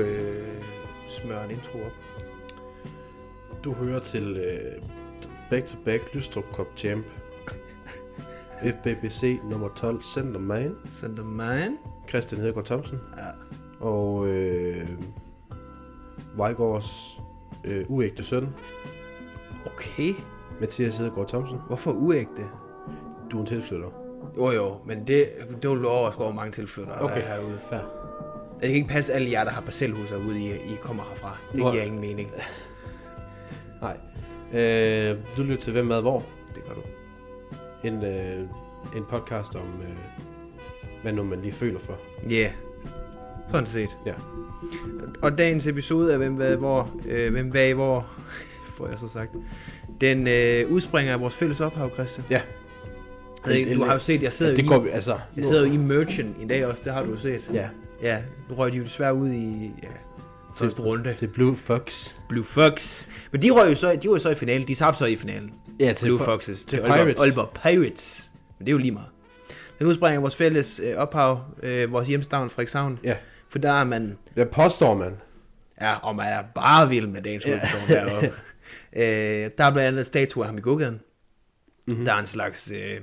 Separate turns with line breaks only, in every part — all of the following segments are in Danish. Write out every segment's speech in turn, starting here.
øh,
skrue op. Du hører til øh, Back to Back Lystrup Cup Champ. FBBC nummer 12 Center Man.
Send them mine.
Christian Hedegaard Thomsen.
Ja.
Og øh, Vejgaards øh, uægte søn,
Okay.
Mathias Hedegaard Thomsen.
Hvorfor uægte?
Du er en tilflytter.
Jo jo, men det, det vil du overraske over hvor mange tilflyttere, okay. der er herude.
Fair.
Det kan ikke passe alle jer, der har parcelhuser ude, I, I kommer herfra. Det
Hvor-
giver ingen mening.
Nej. Øh, du lytter til Hvem Mad Hvor?
Det gør du.
En, øh, en podcast om, øh, hvad nu man lige føler for.
Ja, yeah. sådan set.
Ja.
Og dagens episode af Hvem hvad hvor, øh, Hvem hvad i hvor, får jeg så sagt, den øh, udspringer af vores fælles ophav, Christian.
Ja,
Jeg ved ikke, Du har jo set, jeg sidder,
det
jo,
går
i,
vi, altså.
jeg sidder jo i merchant i dag også, det har du jo set.
Ja,
Ja, nu røg de jo desværre ud i ja, første runde.
til Blue Fox.
Blue Fox. Men de røg jo så, de var jo så i finalen, de tabte så i finalen.
Ja,
Blue Foxes til,
til
Aalborg,
Pirates.
Aalborg Pirates. Men det er jo lige meget. Den udspringer af vores fælles øh, ophav, øh, vores hjemstavn Frederikshavn.
Ja.
For der er man,
Hvad påstår man?
ja, og man er bare vild med dagens hovedperson deroppe. øh, der er blandt andet en statue af ham i gågaden.
Mhm.
Mm-hmm. Der er en slags øh,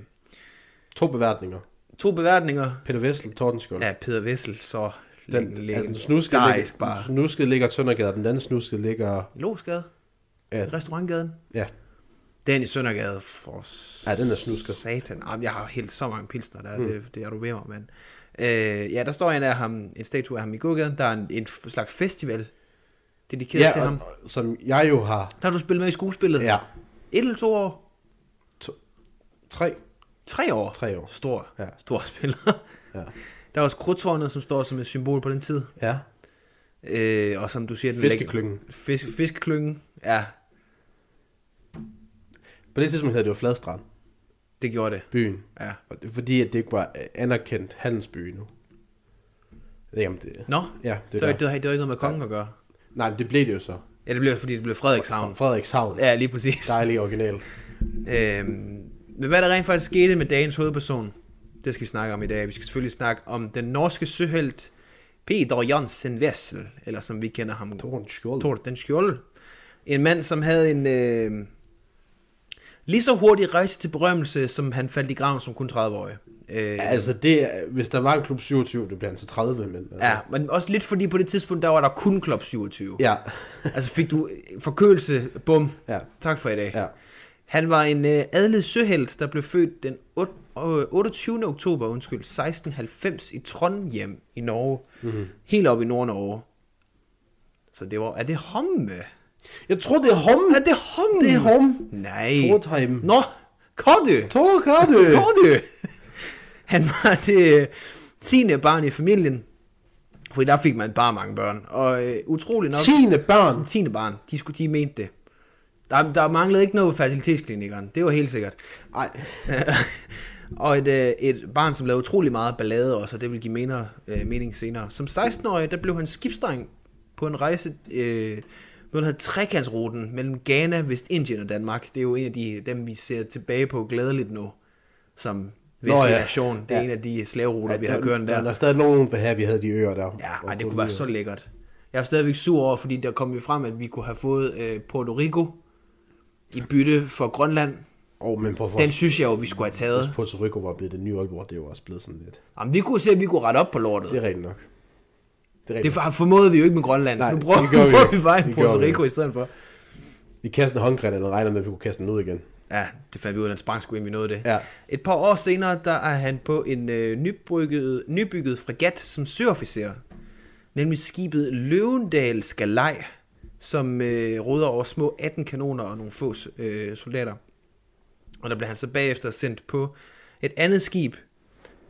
To beværtninger.
to beværtninger
Peter Vessel, Tordenskjold.
af Peder Vessel, så
den, altså, den snuskede,
ligger,
ligger,
bare.
den snuskede ligger Søndergade, den anden snuskede ligger...
I Losgade,
Ja.
ja. restaurantgaden.
Ja,
Den i Søndergade for... s-
Ja, den er snusket.
Satan. Jamen, jeg har helt så mange pilsner der. Mm. Det, det, er du ved mig, mand. Øh, ja, der står en af ham, en statue af ham i gågaden. Der er en, en f- slags festival dedikeret ja, til
ja
ham.
og, som jeg jo har...
Der har du spillet med i skuespillet.
Ja,
Et eller to år?
tre.
Tre år?
Tre år.
Stor,
Ja.
ja. stor spiller.
Ja.
Der er også krudtårnet, som står som et symbol på den tid.
Ja.
Øh, og som du siger, den
Fiskeklyngen.
læg- Fisk, fiskeklyngen, ja,
På det tidspunkt hed det jo Fladstrand,
det gjorde det.
byen.
Ja.
Og det, er fordi at det ikke var øh, anerkendt handelsby nu. Jamen det...
Nå,
Ja,
det,
det
var,
er
ikke-
der.
det, var, det var ikke noget med kongen at gøre.
Nej, men det blev det jo så.
Ja, det blev fordi det blev Frederikshavn.
Frederikshavn.
Ja, lige præcis.
Dejlig original.
Øhm, men hvad der rent faktisk skete med dagens hovedperson, det skal vi snakke om i dag. Vi skal selvfølgelig snakke om den norske søhelt Peter Jansen Vessel, eller som vi kender ham,
Tordenskjold.
Tord den Skjold. En mand, som havde en øh, lige så hurtig rejse til berømmelse, som han faldt i graven som kun 30-årig. Øh,
Ja, Altså det, er- hvis der var en klub 27, det blev han til 30, men... Altså,
ja, men også lidt fordi på det tidspunkt, der var der kun klub 27.
Ja.
Altså fik du forkølelse, bum,
Ja.
tak for i dag.
Ja.
Han var en øh, adlet søhelt, der blev født den ot- øh, 28. oktober undskyld, 1690 i Trondheim i Norge.
Mhm.
Mm-hmm. Helt op i Nord-Norge. Så det var... Er det Homme?
Jeg tror, det er Homme.
Er det Homme?
Det er Homme.
Nej.
Trondheim.
Nå, Kodde!
Tordenskjold.
Kodde! Han var det øh, tiende barn i familien. Fordi der fik man bare mange børn. Og øh, utrolig nok...
Tiende børn.
tiende barn. De, skulle, de mente det. Der, der manglede ikke noget ved fertilitetsklinikkeren. Det var helt sikkert.
Ej.
og et, øh, et barn, som lavede utrolig meget ballade også, og det vil give mener, øh, mening senere. Som 16-årig, der blev han skibsdreng på en rejse, øh, noget, der hedder trekantsruten mellem Ghana, Vestindien og Danmark. Det er jo en af de, dem, vi ser tilbage på glædeligt nu, som vestlig
ja.
ja. nation. Det er
Ja.
ja. en af de slaveruter, ja, vi har
der-
kørende der.
Der er stadig nogen, der her, vi havde de øer der.
Ja, ej, det kunne være så lækkert. Jeg er stadigvæk sur over, fordi der kom jo frem, at vi kunne have fået øh, Puerto Rico i bytte for Grønland.
Åh, oh, men prøv at få...
Den synes jeg jo, vi skulle have taget.
Puerto Rico var blevet det nye Aalborg, det er jo også blevet sådan lidt.
Jamen, vi kunne se, at vi kunne rette op på lortet.
Det er rigtigt nok. Det er
Det
rigtigt.
for- formåede vi jo ikke med Grønland,
Nej,
så nu prøver
det
vi,
gjorde vi
prøver
ikke.
vi bare en
Det gjorde
Puerto
vi
Rico i stedet for.
Vi kaster en håndgranat, og regner med, at vi kunne kaste den ud igen.
Ja, det fandt vi ud af, den sprang sgu ind, vi nåede det.
Ja.
Et par år senere, der er han på en øh, nybygget, nybygget fregat som søofficer. Nemlig skibet Løvendal Skalej, som øh, råder over små 18 kanoner og nogle få øh, soldater. Og der bliver han så bagefter sendt på et andet skib.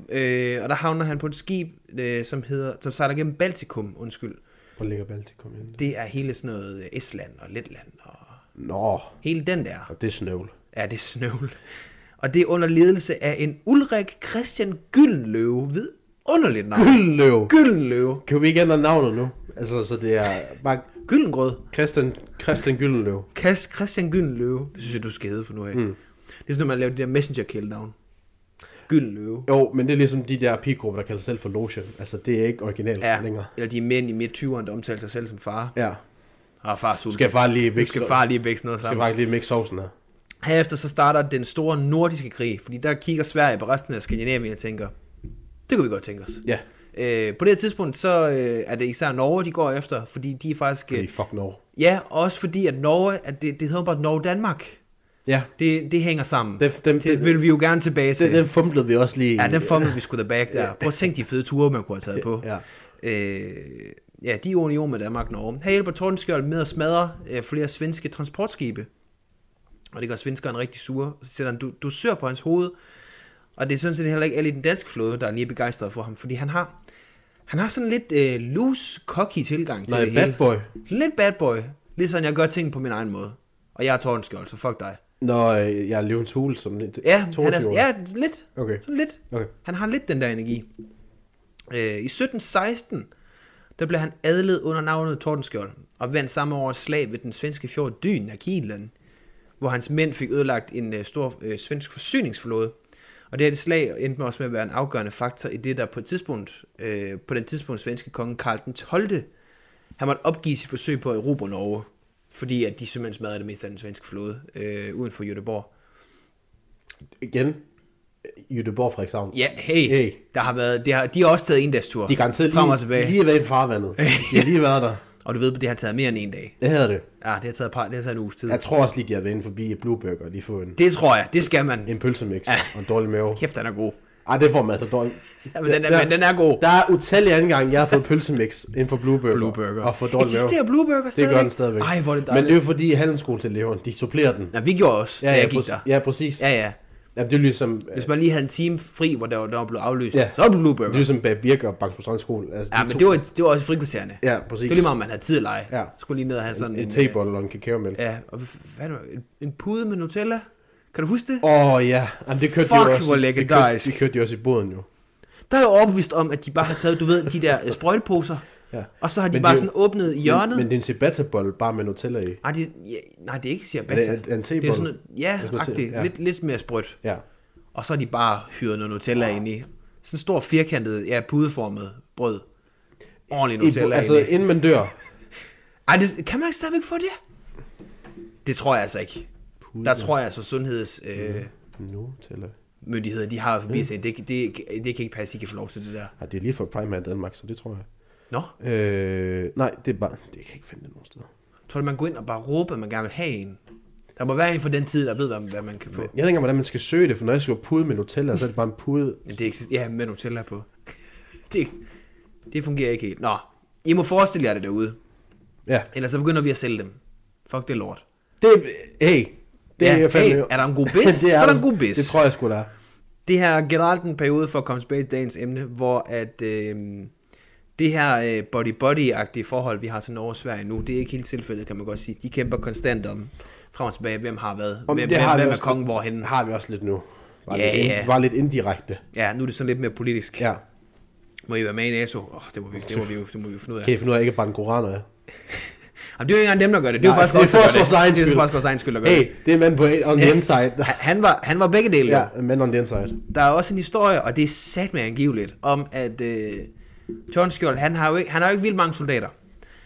Øh, og der havner han på et skib, øh, som hedder, som sejler gennem Baltikum, undskyld.
Hvor ligger Baltikum ind?
Det er hele sådan noget øh, Estland og Letland og
Nå,
hele den der.
og det er snøvl.
Ja, det er snøvl. Og det er under ledelse af en Ulrik Christian Gyldenløve. Vidunderligt navn.
Gyldenløv.
Gyldenløve.
Kan vi ikke ændre navnet nu? Altså, så det er bare
Gyldengrød.
Christian, Christian Gyldenløv.
Kas- Christian Gyldenløve. Det synes jeg, du skal hedde for nu af.
Hmm.
Mm. Det er sådan, når man laver de der messenger-kælenavn. Gyldenløve.
Jo, men det er ligesom de der pigegrupper, der kalder sig selv for Lotion. Altså, det er ikke originalt
Ja,
længere.
eller de mænd i midt 20'erne, der omtaler sig selv som far.
Ja.
Og far sulten.
Skal jeg far lige
Nu
vækse,
skal far lige vækst noget
skal
sammen.
jeg faktisk lige vækse sovsen her?
Herefter så starter den store nordiske krig, fordi der kigger Sverige på resten af Skandinavien og tænker, det kunne vi godt tænke os.
Ja,
Øh, på det her tidspunkt, så øh, er det især Norge, de går efter, fordi de er faktisk...
fordi
Øh,
fuck Norge.
ja, også fordi, at Norge, at det, det hedder bare Norge-Danmark.
Ja,
Det, det hænger sammen.
den, den, den,
Det vil vi jo gerne tilbage til.
den, den fumblede vi også lige.
Ja, den fumble, vi skulle da bag der. Prøv at tænke de fede ture, man kunne have taget på.
Ja.
Øh, ja, de er jo i union med Danmark og Norge. Her hjælper Tordenskjold med at smadre øh, flere svenske transportskibe. Og det gør svenskeren rigtig sur. Så sætter han du, dusør på hans hoved. Og det er sådan set heller ikke alle i den danske flåde, der er lige begejstret for ham. Fordi han har, han har sådan lidt øh, loose, cocky tilgang til
Nej,
det
bad
hele.
boy.
Lidt bad boy. Lidt sådan, jeg gør ting på min egen måde. Og jeg er Tordenskjold, så fuck dig.
Nå, øh, jeg er Løvens Hule som lidt
Ja, han er,
22 år.
ja lidt.
Okay,
Sådan lidt.
okay.
Han har lidt den der energi. Øh, I 1716, der blev han adlet under navnet Tordenskjold, og vandt samme år et slag ved den svenske fjord Dyn af Kienland, hvor hans mænd fik ødelagt en øh, stor øh, svensk forsyningsflåde. Og det her det slag endte med også med at være en afgørende faktor i det, der på, et tidspunkt, øh, på den tidspunkt svenske konge Karl den 12. Han måtte opgive sit forsøg på at erobre Norge, fordi at de simpelthen smadrede det meste af den svenske flåde øh, uden for Göteborg.
Igen, Jødeborg Frederikshavn.
Ja, hey,
Hey.
hey. Der har været, det har, de har også taget en dags tur.
De er garanteret
frem og
lige,
tilbage.
lige været i farvandet. De har lige været der.
Og du ved, det har taget mere end en dag.
Det havde det.
Ja, det har taget, et par, det har taget en uges tid.
Jeg tror også lige, de har været inde forbi et Blue Burger og lige få en,
Det tror jeg, det skal man.
en pølsemix og en dårlig mave.
Kæft, den er god.
Ej, det får man altså dårligt.
Ja, men, den er, men den er god.
Der er utallige anden gang, jeg har fået pølsemix inden for Blue Burger.
Blue Burger.
Og for dårlig mave.
Eksisterer Blue Burger
Det
stadigvæk?
gør den stadigvæk.
Ej, hvor er det
Men det
dejligt.
er jo fordi handelsskoleeleverne, de supplerer den.
Men... Ja, vi gjorde også, ja, da jeg gik
præcis.
der.
ja, præcis. Ja.
Ja, ja.
det er jo ligesom,
Hvis man lige havde en time fri, hvor der, var- der var blevet aflyst,
Ja.
ja. så var det Blue
det
Burger.
er ligesom Bag Birk og Bank på Strandskole. Altså,
Ja,
de
men
to-
det var, det var også frikvarterende.
Ja, præcis.
Det var lige meget, om man havde tid at lege.
Ja.
Skulle lige ned og have sådan øh,
en tebolle og en kakaomælk.
Ja, og hvad fanden var- en, en pude med Nutella. Kan du huske det?
Åh oh, ja, Jamen, det kørte
Fuck,
de jo også.
hvor
det, kørte,
legendarisk.
det kørte de også i båden jo.
Der er jeg overbevist om, at de bare har taget, du ved, de der øh, sprøjteposer,
Ja.
og så har de
Men
bare
det er
sådan åbnet hjørnet.
Men, men det er en ciabatta-bolle, bare med Nutella i.
Nej, det, ja, nej, det er ikke ciabatta.
Er det en- en
det er
tebolle?
sådan noget, ja,
Det er sådan noget
agtigt,
te- ja.
ja. Lidt, lidt mere sprødt.
Ja.
Og så har de bare hyret noget Nutella ind i. Sådan en stor firkantet, ja, pudeformet brød. Ordentlig
I,
Nutella
altså,
altså, ind i.
inden man dør.
Ej, det, kan man ikke stadigvæk få det? Det tror jeg altså ikke. Der tror jeg altså, sundhedsmyndigheder,
Nutella.
øh, de har forbi sig. Det, det, det, det kan ikke passe, I kan få lov til det der.
Ja, det er lige for Prime i Danmark, så det tror jeg.
Nå,
Øh, nej, det er bare... Det kan jeg ikke finde det nogen steder.
tror du, man går ind og bare råber, at man gerne vil have en? Der må være en for den tid, der ved, hvad, hvad man kan få.
Jeg ved ikke engang, hvordan man skal søge det, for når jeg skriver pude med Nutella, så er det bare en pude.
Men det eksisterer, ja, med Nutella på. det, det fungerer ikke helt. Nå, I må forestille jer det derude.
Ja.
Ellers så begynder vi at sælge dem. Fuck det lort.
Det er... Hey! Det
Ja,
er jeg fandme...
hey, er der en god bis? Så er der en god bis.
Det tror jeg sgu, der er.
Det her er generelt en periode for at komme tilbage til dagens emne, hvor at øh, det her øh, body-body-agtige forhold, vi har til Norge og Sverige nu, det er ikke helt tilfældet, kan man godt sige. De kæmper konstant om frem og tilbage, hvem har hvad,
Om
hvem,
det
hvem,
har vi
hvem er
også-
kongen hvorhen.
Har vi også lidt nu. Var
Ja,
lidt,
ja.
Var lidt indirekte.
Ja, nu er det sådan lidt mere politisk.
Ja.
Må I være med i NATO? Oh, det, må vi, det, må vi, jo- det må vi jo finde ud af.
Kan I finde ud af ikke at brænde koraner af?
Jamen, det er jo ikke engang dem, der gør det. Det er jo
Nej,
faktisk
det
også,
er
der gør det.
forsvarets egen
Det er
skyld.
faktisk vores egen skyld, der gør
Hey,
det.
det er mand på on the inside.
Han- Han var, han var begge dele.
Ja,
Ja.
mand on the inside.
Der er også en historie, og det er sat med angiveligt, om at øh, Tordenskjold, han har jo ikke, han har jo ikke vildt mange soldater.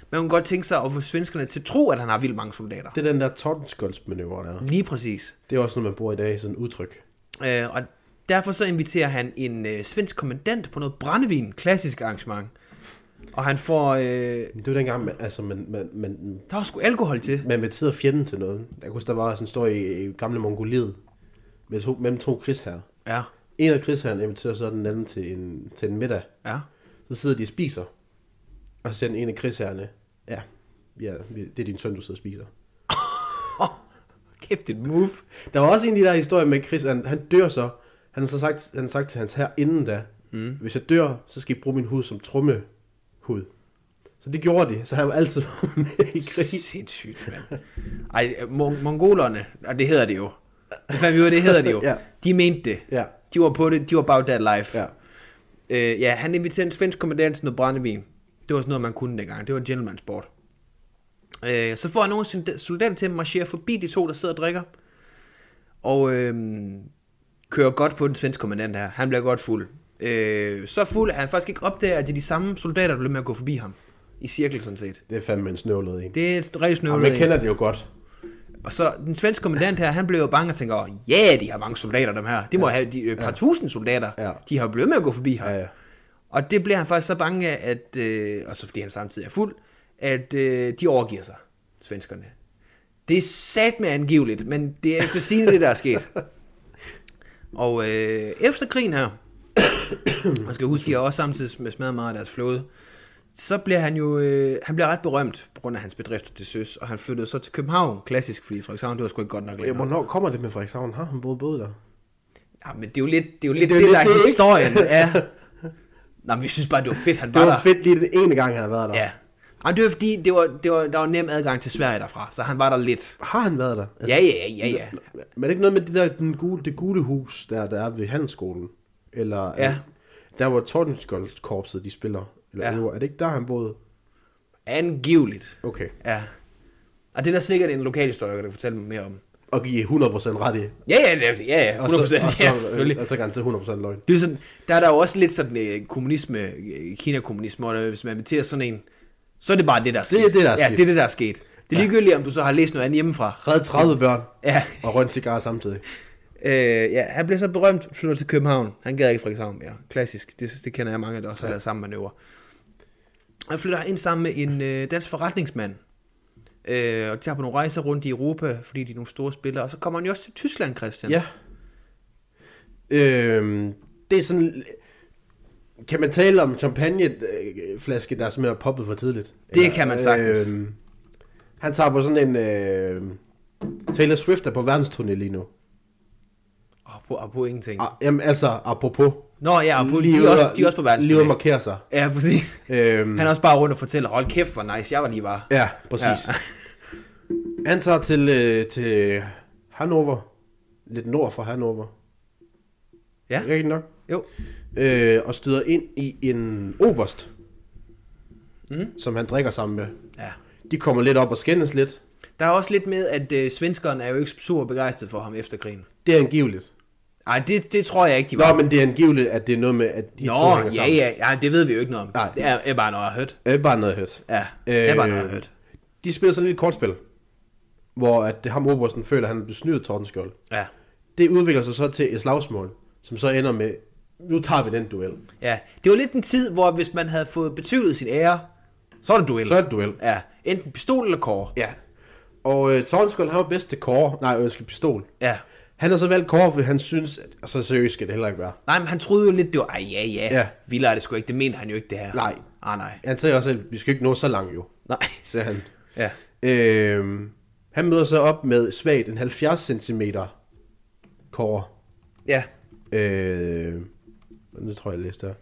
Men man kan godt tænke sig at få svenskerne til at tro, at han har vildt mange soldater.
Det er den der Tordenskjoldsmanøvre der.
Lige præcis.
Det er også noget, man bruger i dag i sådan et udtryk.
Øh, og derfor så inviterer han en øh, svensk kommandant på noget brændevin, klassisk arrangement. Og han får... Øh,
Men Det var dengang, man, altså, man, man, man,
der var sgu alkohol til.
man inviterede fjenden til noget. Jeg kan huske, der var sådan en historie i, i gamle Mongoliet med to, mellem to krigsherrer.
Ja,
En af krigsherrerne inviterer så den anden til en, til en middag.
ja.
Så sidder de og spiser. Og så siger den ene af krigsherrerne, ja, ja, vi- det er din søn, du sidder og spiser.
Kæft, et move.
Der var også en af de der historier med krigsherren, han dør så. Han har så sagt, han har sagt til hans her inden da, mm. hvis jeg dør, så skal I bruge min hud som trommehud. Så det gjorde de, så han var altid med i krig.
Sindssygt, mand. Ej, mon- mongolerne, og det hedder det jo. Det fandt vi ud af, det hedder det jo.
Ja.
De mente det.
Ja.
De var på det, de var about that life.
Ja.
Øh, ja, han inviterede en svensk kommandant til noget brændevin. Det var sådan noget, man kunne dengang. Det var gentleman sport. Øh, så får han nogle af sine soldater til at marchere forbi de to, der sidder og drikker. Og øh, kører godt på den svenske kommandant her. Han bliver godt fuld. Øh, så fuld, at han faktisk ikke opdager, at det er de samme soldater, der bliver med at gå forbi ham. i cirkel sådan set.
Det er fandme en snøvlet en.
Det er et rigtig
Og
snøvlet.
man
en.
kender det jo godt.
Og så den svenske kommandant her, han blev jo bange og tænker, åh, ja, yeah, de har mange soldater, dem her. De må have de, et par tusind soldater.
Ja.
De har jo blevet med at gå forbi her.
Ja, ja.
Og det bliver han faktisk så bange af, at, øh, og så fordi han samtidig er fuld, at øh, de overgiver sig, svenskerne. Det er sat med angiveligt, men det er efter sigende det, der er sket. Og øh, efter krigen her, man skal huske, de har også samtidig smadret meget af deres flåde, så bliver han jo øh, han bliver ret berømt på grund af hans bedrifter til søs, og han flyttede så til København, klassisk, fordi Frederikshavn, det var sgu ikke godt nok
Ja,
længere.
Hvornår kommer det med Frederikshavn? Har han både boet der?
Ja, men det er jo lidt det, er jo lidt
er
det, der
jo lidt det,
er
ikke?
historien. Ja. Nå, men vi synes bare, det var fedt, han
Det
var,
var
der.
fedt lige den ene gang, han har været der.
Ja. Og det var fordi, det var, det var, der var nem adgang til Sverige derfra, så han var der lidt.
Har han været der? Altså,
Ja, ja, ja, ja.
Men er det ikke noget med det der den gule, det gule hus, der, der er ved handelsskolen? Eller
Ja.
øh, der, hvor Tordenskjold-korpset de spiller? Eller
Ja.
ja. Er det ikke der, han boede?
Angiveligt.
Okay.
Ja. Og det er der sikkert en lokalhistoriker, der kan fortælle mig mere om.
Og give 100% ret i.
Ja, ja, det er- ja, ja, 100%,
og så,
ja, selvfølgelig.
Og så garanteret 100% løgn.
Det er jo sådan, der er der jo også lidt sådan øh, kommunisme, øh, Kina-kommunisme, og hvis man inviterer sådan en, så er det bare det, der er sket.
er det, der er
ja,
sket.
det er det, der er sket. Det er ligegyldigt, om du så har læst noget andet hjemmefra.
Red 30 børn
Ja,
og rønt cigaret samtidig.
Øh, ja, han blev så berømt, flytter til København. Han gad ikke Frederikshavn mere. Klassisk. Det, det kender jeg mange, der også har lavet samme manøvre. Han flytter ind sammen med en øh, dansk forretningsmand. Øh, og de tager på nogle rejser rundt i Europa, fordi de er nogle store spillere. Og så kommer han jo også til Tyskland, Christian.
Ja. Øhm, det er sådan... Kan man tale om champagneflaske, der simpelthen er poppet for tidligt?
Det kan man sagtens.
Øhm, han tager på sådan en... Øh, Taylor Swift er på verdensturné lige nu.
Og på, og på ingenting.
Ah, jamen altså, apropos.
Nå ja, og på, de,
Lige
er
ude
også,
at-
de er også på
Lige ude
verdensturné.
at markere sig.
Ja, præcis.
Øhm,
Han er også bare rundt og fortæller, hold kæft, hvor nice jeg var lige var.
Ja, præcis. Ja. han tager til, øh, til Hannover. Lidt nord for Hannover.
Ja.
Rigtig nok.
Jo.
øh, og støder ind i en oberst, mm. som han drikker sammen med.
Ja.
De kommer lidt op og skændes lidt.
Der er også lidt med, at øh, svenskeren er jo ikke super begejstret for ham efter krigen.
Det er angiveligt.
Ej, det, det tror jeg ikke, de var.
Nå, men det er angiveligt, at det er noget med, at de
Nå,
to hænger
ja,
sammen.
ja, ja, det ved vi jo ikke noget om.
Nej.
Det er, er bare noget, jeg har hørt.
Det er bare noget højt.
Ja, det er bare noget, jeg har hørt.
De spiller sådan et lille kortspil, hvor at ham obersten føler, at han er blevet snydt Tordenskjold.
Ja.
Det udvikler sig så til et slagsmål, som så ender med, nu tager vi den duel.
ja, det var lidt en tid, hvor hvis man havde fået betvivlet sin ære, så er det duel.
Så er det duel.
Ja, enten pistol eller kår.
Ja. Og øh, Tordenskjold, han var bedst til kåre. Nej, ønsker pistol.
Ja.
Han har så valgt kåre, fordi han synes, at, og så seriøst skal det heller ikke være.
Nej, men han troede jo lidt, det var, ej, ja, ja,
Ja.
vildere er det sgu ikke, det mener han jo ikke, det her.
Nej.
Ah, nej.
Han sagde også, at vi skal ikke nå så langt jo,
Nej.
sagde han.
Ja.
Øhm, han møder så op med svagt en 70 cm kåre.
Ja.
Øh, nu tror jeg, jeg læste der.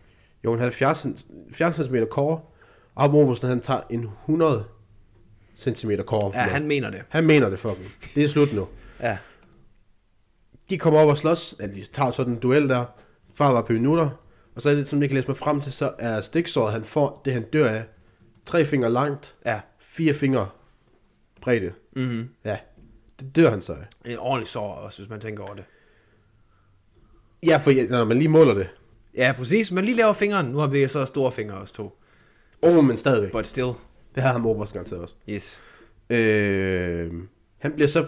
Jo, en 70 cent- 70 cm kåre. Og Mormosen, han tager en 100 cm kåre.
Ja, han mener det.
han mener det fucking. Det er slut nu.
Ja.
De kommer op og slås. Eller de tager sådan en duel der. Far var på minutter. Og så er det, som jeg kan læse mig frem til, så er stiksåret, han får, det han dør af, tre fingre langt.
Ja.
fire fingre bredde. Mm-hmm. Ja, det dør han så af.
En ordentlig sår også, hvis man tænker over det.
Ja, for ja, når man lige måler det.
Ja, præcis. Man lige laver fingeren. Nu har vi så store fingre også to.
Åh, oh, men stadigvæk.
But still.
Det havde ham Oberst garanteret også.
Yes.
Øh, han bliver så...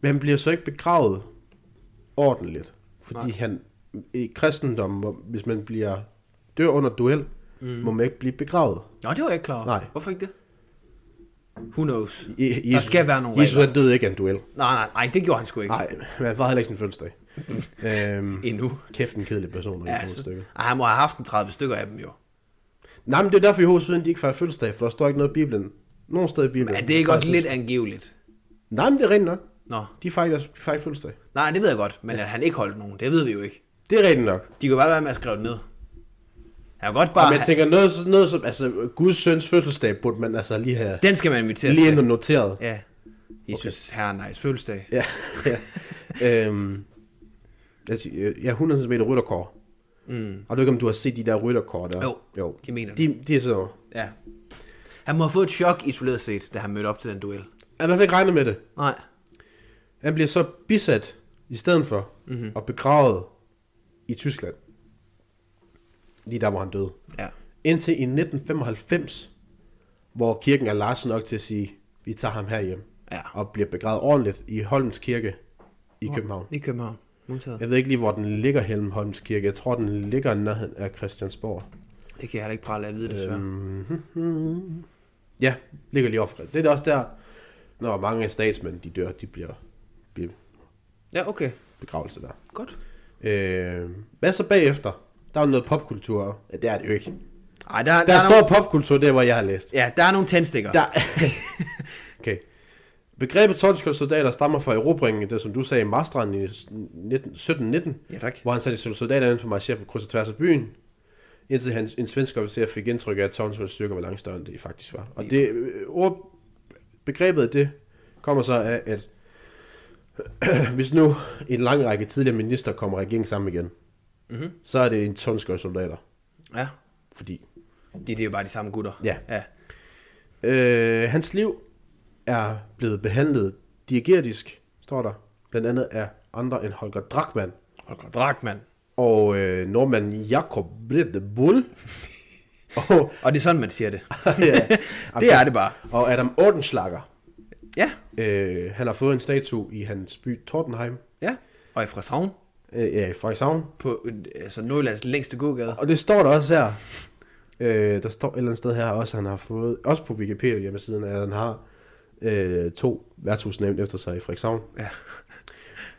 Men han bliver så ikke begravet ordentligt. Fordi Nej. han... I kristendommen, hvor- hvis man bliver dør under duel, mm. må man ikke blive begravet.
Nå, det var jeg ikke klar over.
Nej.
Hvorfor ikke det? Who knows?
I, Jesus,
skal være nogle
Jesus
regler.
han døde ikke af en duel.
Nej, nej, nej, det gjorde han sgu ikke.
Nej, men han var heller ikke sin fødselsdag. øhm,
Endnu.
kæft en kedelig person.
Ja,
Ja,
altså, Ej, han må have haft en 30 stykker af dem jo.
Nej, men det er derfor i hovedsiden, de ikke fejrer fødselsdag, for der står ikke noget i Bibelen. Nogen sted i Bibelen.
Er det ikke også lidt angiveligt?
Nej, men det er rent nok.
Nå,
De fejrer, deres- de fejrer fødselsdag.
nej, det ved jeg godt, men at han ikke holdt nogen, det ved vi jo ikke.
Det er rent nok.
De kunne bare være med at skrive det ned. Han kan godt bare
Og man
have,
tænker, noget, noget som, altså, Guds søns fødselsdag burde man altså lige have
den skal man invitere
lige
til.
ind og noteret.
Ja. Jesus, okay. herre, nice fødselsdag.
Ja, ja. øhm, jeg, siger, øh, ja, 100 cm rytterkår. Mm. Og du ikke, om du har set de der rytterkår der?
Jo,
jo.
de mener det.
de, de er så...
Ja. Han må have fået et chok isoleret set, da han mødte op til den duel.
Han har ikke regnet med det.
Nej.
Han bliver så bisat i stedet for, mm-hmm. og begravet i Tyskland. Lige der, hvor han døde.
Ja.
Indtil i 1995, hvor kirken er large nok til at sige, vi tager ham herhjem,
Ja.
og bliver begravet ordentligt i Holms Kirke i København.
I København. Modtaget.
Jeg ved ikke lige, hvor den ligger henne, Holms Kirke. Jeg tror, den ligger i nærheden af Christiansborg.
Det kan jeg heller ikke prale af at vide, desværre. Øhm.
Ja, ligger lige overfor. Det er da også der, når mange af statsmænd, de dør, de bliver, bliver
Ja, okay.
begravelse der.
Godt.
Øh, hvad så bagefter? Der er jo noget popkultur. Ja, det er det jo ikke.
Ej, der, der,
Der
er
står
nogle,
popkultur, det er, hvor jeg har læst.
ja, der er nogle tændstikker.
Der... okay. Begrebet tordenskjoldsoldater stammer fra erobringen, det som du sagde, i Mastran i 19, 1719,
Ja, tak.
hvor han satte sine soldater ind for at marchere på kryds og tværs af byen, indtil han, en svensk officer fik indtryk af, at Tordenskjolds styrker var langt større, end de faktisk var. Og det, øh, ord, begrebet af det kommer så af, at hvis nu en lang række tidligere minister kommer i regering sammen igen, mm-hmm. så er det en Tordenskjolds-soldater.
Ja.
Fordi
Det, det er jo bare de samme gutter.
Ja.
ja.
Øh, hans liv er blevet behandlet diegetisk, står der, blandt andet af andre end Holger Drachmann
Holger Drachmann.
og øh, nordmanden Jakob Blede Bull. og,
Og det er sådan, man siger det.
ja,
det er det bare.
og Adam Ordenslager.
Ja,
Øh, han har fået en statue i hans by Tortenheim,
ja. Og i Frederikshavn
øh, ja, i Frederikshavn.
på øh, altså Nordjyllands længste gågade.
Og det står der også her. Øh, der står et eller andet sted her også, at han har fået, også på Wikipedia hjemmesiden, at han har øh, to værtshus nævnt efter sig i Frederikshavn.
Ja.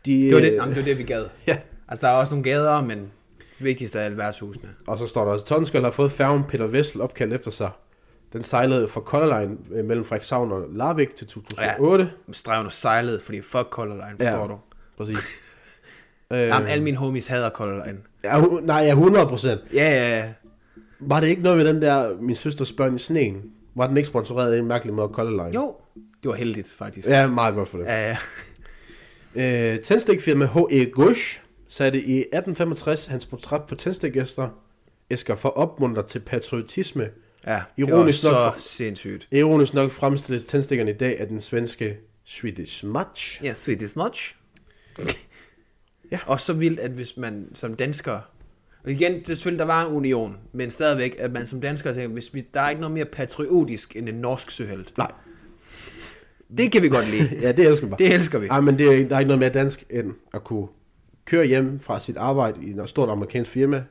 De,
Det var det,
øh,
jamen, det, var det vi gad.
Ja.
Altså, der er også nogle gader, men vigtigst af alle værtshusene.
Og så står der også, Tonskjold har fået færgen Peter Vessel opkaldt efter sig. Den sejlede fra Color Line øh, mellem Frederikshavn og Larvik til 2008. Ja.
Streven og sejlede, fordi fuck Color Line, forstår du?
Præcis. øh,
Jamen, alle mine homies hader Color Line.
ja, hu- nej, ja, 100 procent.
Ja, ja, ja.
Var det ikke noget med den der, min søsters børn i sneen? Var den ikke sponsoreret af en mærkelig måde af Color Line?
Jo, det var heldigt, faktisk.
Ja, meget godt for det.
Ja, ja.
Øh, tændstikfirma H.E. Gush satte i 1865 hans portræt på tændstikgæster æsker for opmunter til patriotisme.
ja
Ironisk
det var
nok
så sindssygt.
Ironisk nok fremstilles tændstikkerne i dag af den svenske Swedish Match.
Ja, sweet is much.
Ja.
Og så vildt, at hvis man som dansker... Og igen, det er selvfølgelig, der var en union, men stadigvæk, at man som dansker tænker, hvis vi, der er ikke noget mere patriotisk end en norsk søhelt.
Nej,
Det kan vi godt lide.
ja, det elsker jeg bare.
Det elsker vi.
Ej, men det er, ikke- der er ikke noget mere dansk, end at kunne køre hjem fra sit arbejde i et stort amerikansk firma,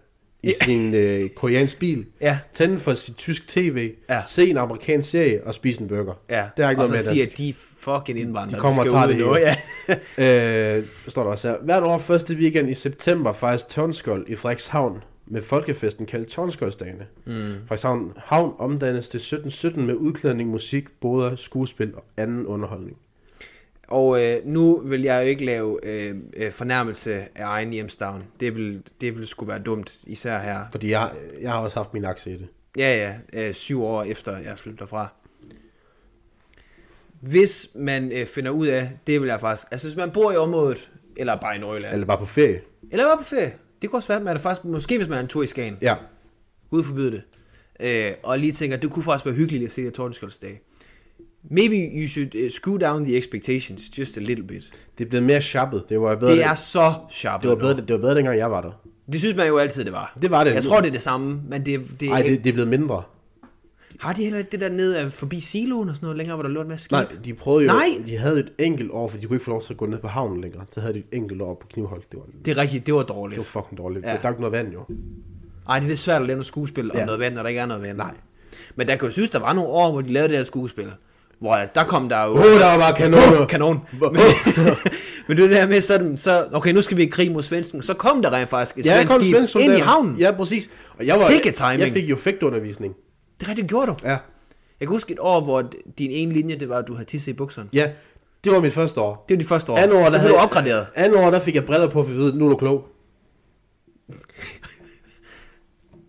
i
Ja.
sin øh, koreansk bil,
Ja.
tænde for sit tysk tv,
Ja.
se en amerikansk serie og spise en burger.
Ja,
Det er ikke
og
noget mere
så sige,
dansk.
at de er fucking indvandrere.
de kommer og tager det
nu.
hele.
Ja.
Øh, står der også her. Hvert år første weekend i september fejres Tornskold i Frederikshavn med folkefesten kaldet Tornskoldsdagene. Mm. Frederikshavn Havn omdannes til 1717 med udklædning, musik, boder, skuespil og anden underholdning.
Og øh, nu vil jeg jo ikke lave øh, øh, fornærmelse af egen hjemstavn. Det vil, det vil sgu være dumt, især her.
Fordi jeg, jeg har også haft min aktie i det.
Ja, ja, øh, syv år efter jeg flytter fra. Hvis man øh, finder ud af, det vil jeg faktisk... Altså, hvis man bor i området, eller bare i Nordjylland, eller,
Eller bare på ferie.
eller bare på ferie, det kunne også være, man er faktisk... Måske hvis man er en tur i Skagen,
Ja.
Gud forbyde det. Øh, og lige tænker, det kunne faktisk være hyggeligt at se det Tordenskjoldsdag. Maybe you should uh, screw down the expectations just a little bit.
Det er blevet mere sjappet. Det var bedre,
Det er så sharp.
det var bedre, det, det var bedre dengang jeg var der.
det synes man jo altid, det var.
Det var det.
Jeg tror, det er det samme, men det, det, er
Nej,
ikke...
det, det er blevet mindre.
Har de heller ikke det der nede øh, forbi siloen og sådan noget længere, hvor der lå en masse skib?
Nej, de prøvede jo,
Nej!
de havde jo et enkelt år, for de kunne ikke få lov til at gå ned på havnen længere. Så havde de et enkelt år på Knivholdt. Det var, det
Det er rigtigt, det var dårligt.
var fucking dårligt.
Ja.
Ja. Der er ikke noget vand jo.
Ej, det er lidt svært at lave noget skuespil om ja.
Ja.
noget vand, når der ikke er noget vand.
Nej.
Men der kan jo synes, der var nogle år, hvor de lavede det her skuespil. Hvor altså, der kom der jo...
Åh, der var bare kanoner.
kanon.
Hvor-
Men, men det der med sådan, så, okay, nu skal vi i krig mod svensken. Så kom der rent faktisk et
Ja, der
svensk
kom
skib
svensk
ind i
soldater.
havnen.
Ja, præcis. Og jeg var,
Sikke timing.
Jeg fik jo fægtundervisning.
Det rigtig gjorde du.
Ja.
Jeg kan huske et år, hvor d- din ene linje, det var, at du havde tisse i bukserne.
Ja, det var mit første år.
Det var de første år.
Andet år,
så
der
blev du opgraderet.
Andet år, der fik jeg briller på, for at vide, nu er du klog.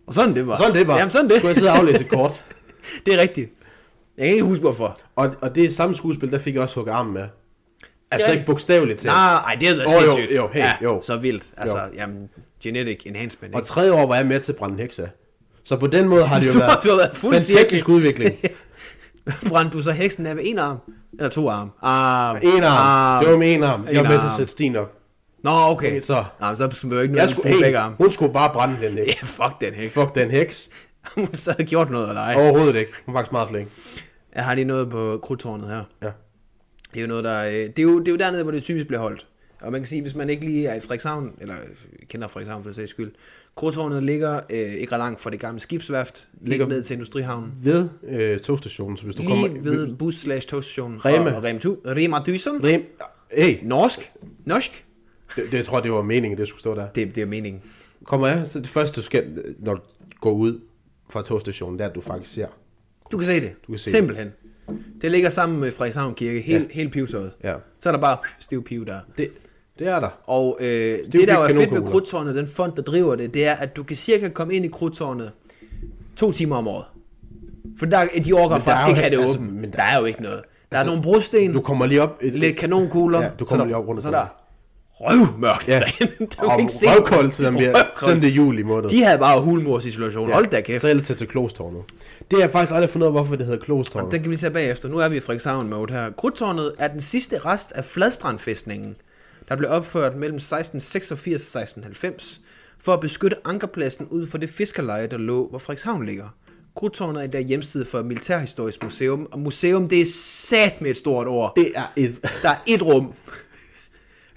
Og sådan det var.
Og sådan det bare.
Jamen sådan det.
Skulle jeg sidde og aflæse et kort.
det er rigtigt. Jeg kan ikke huske hvorfor.
Og, og det samme skuespil, der fik jeg også hugget armen med. Altså
Ja.
ikke bogstaveligt til.
Nej, Ah, ej, det havde været
Åh, jo,
sindssygt.
jo, hey,
ja,
jo.
Så vildt. Altså, jamen, genetic enhancement.
Og tredje år var jeg med til at brænde en heks af. Så på den måde har det jo
Du har-
været,
du har været fuld
fantastisk udvikling.
Brændte du så heksen af med en arm? Eller to arme? Ah, Arm.
En arm. Det var med Ah. en arm. Jeg
En
var med til
arm.
at sætte Stine op.
Nå, okay.
Okay, så-
Nå, men så skal vi jo ikke
Jeg
nødvendigvis
skulle,
bruge
hey,
begge arme.
hun skulle bare brænde den heks.
Ja, fuck den heks.
Fuck den heks.
om hun så havde gjort noget eller ej.
Overhovedet ikke. Hun var faktisk meget flink.
Jeg har lige noget på krudtårnet her.
Ja.
Det er jo noget, der... øh, Det er jo, det er jo dernede, hvor det typisk bliver holdt. Og man kan sige, hvis man ikke lige er i Frederikshavn, eller kender Frederikshavn for det sags skyld, Krudtårnet ligger øh, ikke ret langt fra det gamle skibsværft, ligger
Ligger-
ned til Industrihavnen.
Ved øh, togstationen, så hvis du kommer...
Lige ved bus slash togstationen.
Rema.
Og, og Rema, tu, Rema Dysum.
Rim. Hey,
Norsk. Norsk.
det, det, jeg tror, det var meningen, det skulle stå der.
Det, det er meningen.
Kommer jeg, så det første, du skal, når du går ud fra togstationen, det er, at du faktisk ser.
Du kan se det.
kan se det.
Simpelthen. Det. ligger sammen med Frederikshavn Kirke. Helt, ja. helt pivsøjet.
Ja.
Så er der bare stiv piv der.
Det, det er der.
Og øh, det,
jo
det, der jo er
ikke
fedt ved
kanonkugler.
Krudtårnet, den fond, der driver det, det er, at du kan cirka komme ind i Krudtårnet to timer om året. For der, de orker
er
faktisk
jo
ikke have
ikke-
det
altså,
åbent.
men
Altså,
der- altså,
der, er jo ikke noget. Der er nogle brosten,
Du kommer lige op... Et,
lidt kanonkugler.
Ja, du kommer
så
lige
der,
op rundt
og Så er
om
der røvmørkt ja.
Ja.
derinde. Der kan
og
ikke se.
røvkoldt, selvom det er
Røvkoldt.
søndag juli måned.
De havde bare hulmors i situationen. Ja. Hold da kæft.
Så er det til til Klostårnet. Det har jeg faktisk aldrig fundet ud af, hvorfor det hedder Klostårnet.
Den kan vi lige tage bagefter. Nu er vi i Frederikshavn mode her. Krudtårnet er den sidste rest af Fladstrandfæstningen, der blev opført mellem 1686 og 1690 for at beskytte ankerpladsen ud for det fiskerleje, der lå, hvor Frederikshavn ligger. Krudtårnet er i dag hjemsted for Militærhistorisk Museum, og museum, det er sat med et stort ord.
Det er et...
Der er et rum.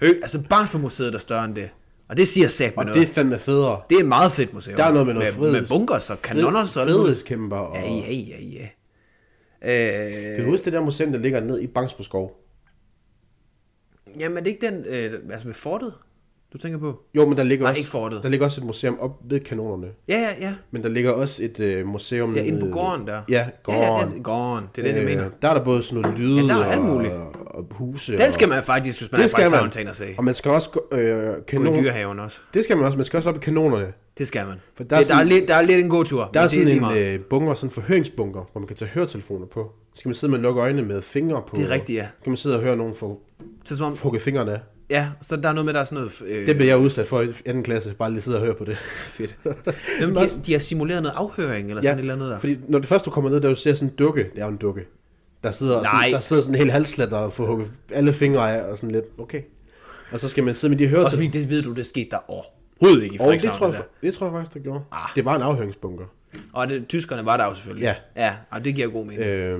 Øh, altså Bangsbo Museet er større end det. Og det siger sat med
Og
noget.
det
Det,
er fandme federe.
det er et meget fedt museum.
Der er noget med noget
med,
friheds-
med bunkers og kanoner og sådan noget.
Fedhedskæmper og...
Ja, ja, ja, ja. Øh,
Kan du huske det der museum, der ligger ned i Bangsbo Skov?
Jamen er det ikke den, øh, altså ved fortet, du tænker på?
Jo, men der ligger
Nej,
også...
ikke fortet.
Der ligger også et museum op ved kanonerne.
Ja, ja, ja.
Men der ligger også et øh, museum...
Ja, inde på
nede-
gården der.
Ja, gården. Øh,
Ja, ja, det- gården. Det er den, jeg mener.
Der er der både sådan noget lyde
Ja, der er alt muligt.
Og, og huse.
Den skal man faktisk, hvis man
og,
er
det skal
faktisk
man.
tænkt at se.
Og man skal også gå, øh,
Gå i
kanon,
dyrehaven også.
det skal man også. Man skal også op i kanonerne.
Det skal man. For
For
der,
der
det, der,
er
er
sådan-
lidt, der er lidt en god tur.
Der er sådan en øh, bunker, sådan en forhøringsbunker, hvor man kan tage høretelefoner på. Så kan man sidde med at lukke øjnene med fingre på.
Det er rigtigt, ja.
Så kan man sidde og høre nogen få
Så som om,
hugget fingrene af.
ja, så der er noget med, der er sådan noget øh,
øh, Det blev jeg udsat for i 2. klasse, bare lige sidde og høre på det.
fedt. Jamen, de, de har simuleret noget afhøring eller sådan et eller andet der.
Fordi når det første du kommer ned, der du ser sådan en dukke, det er jo en dukke. Der sidder,
Nej.
sådan, der sidder sådan en hel halslet og får hugget alle fingre af og sådan lidt, okay. Og så skal man sidde med de
Også
høretelefoner.
fordi det ved du, det skete der overhovedet ikke i
Og det
Frederikshavn.
tror, jeg,
der.
fa- det tror jeg faktisk, der gjorde. Ah. Det var en afhøringsbunker.
Og det, tyskerne var der jo selvfølgelig.
Ja.
ja og det giver god mening.
Øh,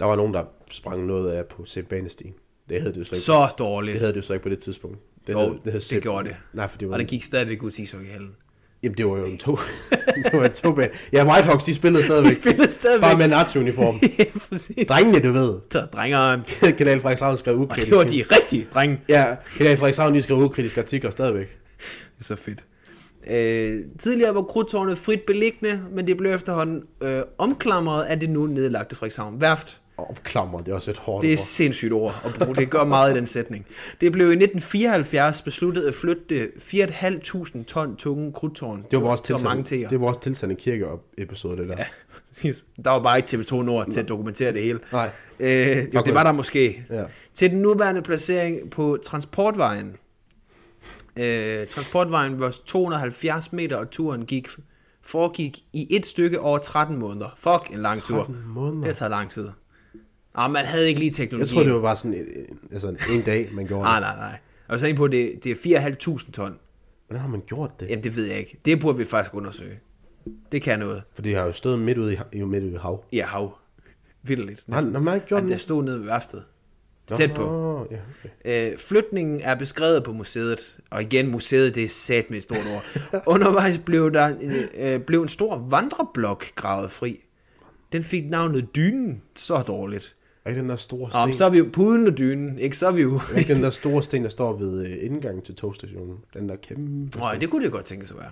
der var nogen, der sprang noget af på Sebanestien. Det hed det jo så ikke.
Så dårligt.
Øh, Det havde det jo så ikke på det tidspunkt. Det,
Jo, det
Seb-
gjorde det.
Nej, for det var,
Og der gik stadigvæk ud til ishockeyhallen.
jamen, det var jo en to. det var en togbane. Ja, Whitehawks, de spillede stadigvæk.
De spillede stadigvæk.
Bare med nazi-uniform.
ja, præcis.
Drengene, du ved.
Så drengeren.
Kanal Frederikshavn skrev
Og
ukritisk.
det var de rigtige drenge.
Ja, Kanal Frederikshavn, de skrev ukritiske artikler stadigvæk.
Det er så fedt. Øh, tidligere var krudtårnet frit beliggende, men det blev efterhånden øh, omklamret af det nu nedlagte Frederikshavn Værft.
Og klammer, det er også et hårdt
Det er
ord.
sindssygt ord at bruge. Det gør meget i den sætning. Det blev i 1974 besluttet at flytte det 4.500 ton tunge krudtårn.
Det var vores
der var mange til
tilsande, det var vores tilsande kirke-episode, det der. Ja.
Præcis. Der var bare ikke TV2 Nord til at dokumentere det hele.
Nej.
Øh, jo,
Okay.
det var der måske.
Ja.
Til den nuværende placering på Transportvejen. Øh, transportvejen var 270 meter, og turen gik, foregik i et stykke over 13 måneder. Fuck, en lang tur.
13 måneder.
Det har taget lang tid. Ah, man havde ikke lige teknologi.
Jeg tror, det var bare sådan en, altså en, en dag, man gjorde
Nej,
det.
nej, nej. Og så ind på, det, det er 4.500 ton.
Hvordan har man gjort det?
Jamen, det ved jeg ikke. Det burde vi faktisk undersøge. Det kan noget.
For det har jo stået midt ude i, ha- i- midt ude i hav.
Ja, hav. Vildt.
Har har man ikke gjort
Men der
det?
stod nede ved værftet. Tæt på.
Nå, Ja, okay.
Øh, flytningen er beskrevet på museet, og igen, museet, det er sat med et stort ord. Undervejs blev der øh, øh, blev en stor vandreblok gravet fri. Den fik navnet Dynen, så dårligt.
Er ikke den der store sten?
Og så er vi jo puden og dynen, ikke? Så er vi jo...
Er ikke den der store sten, der står ved øh, indgangen til togstationen? Den der kæmpe...
Nej, det kunne det godt tænkes at være.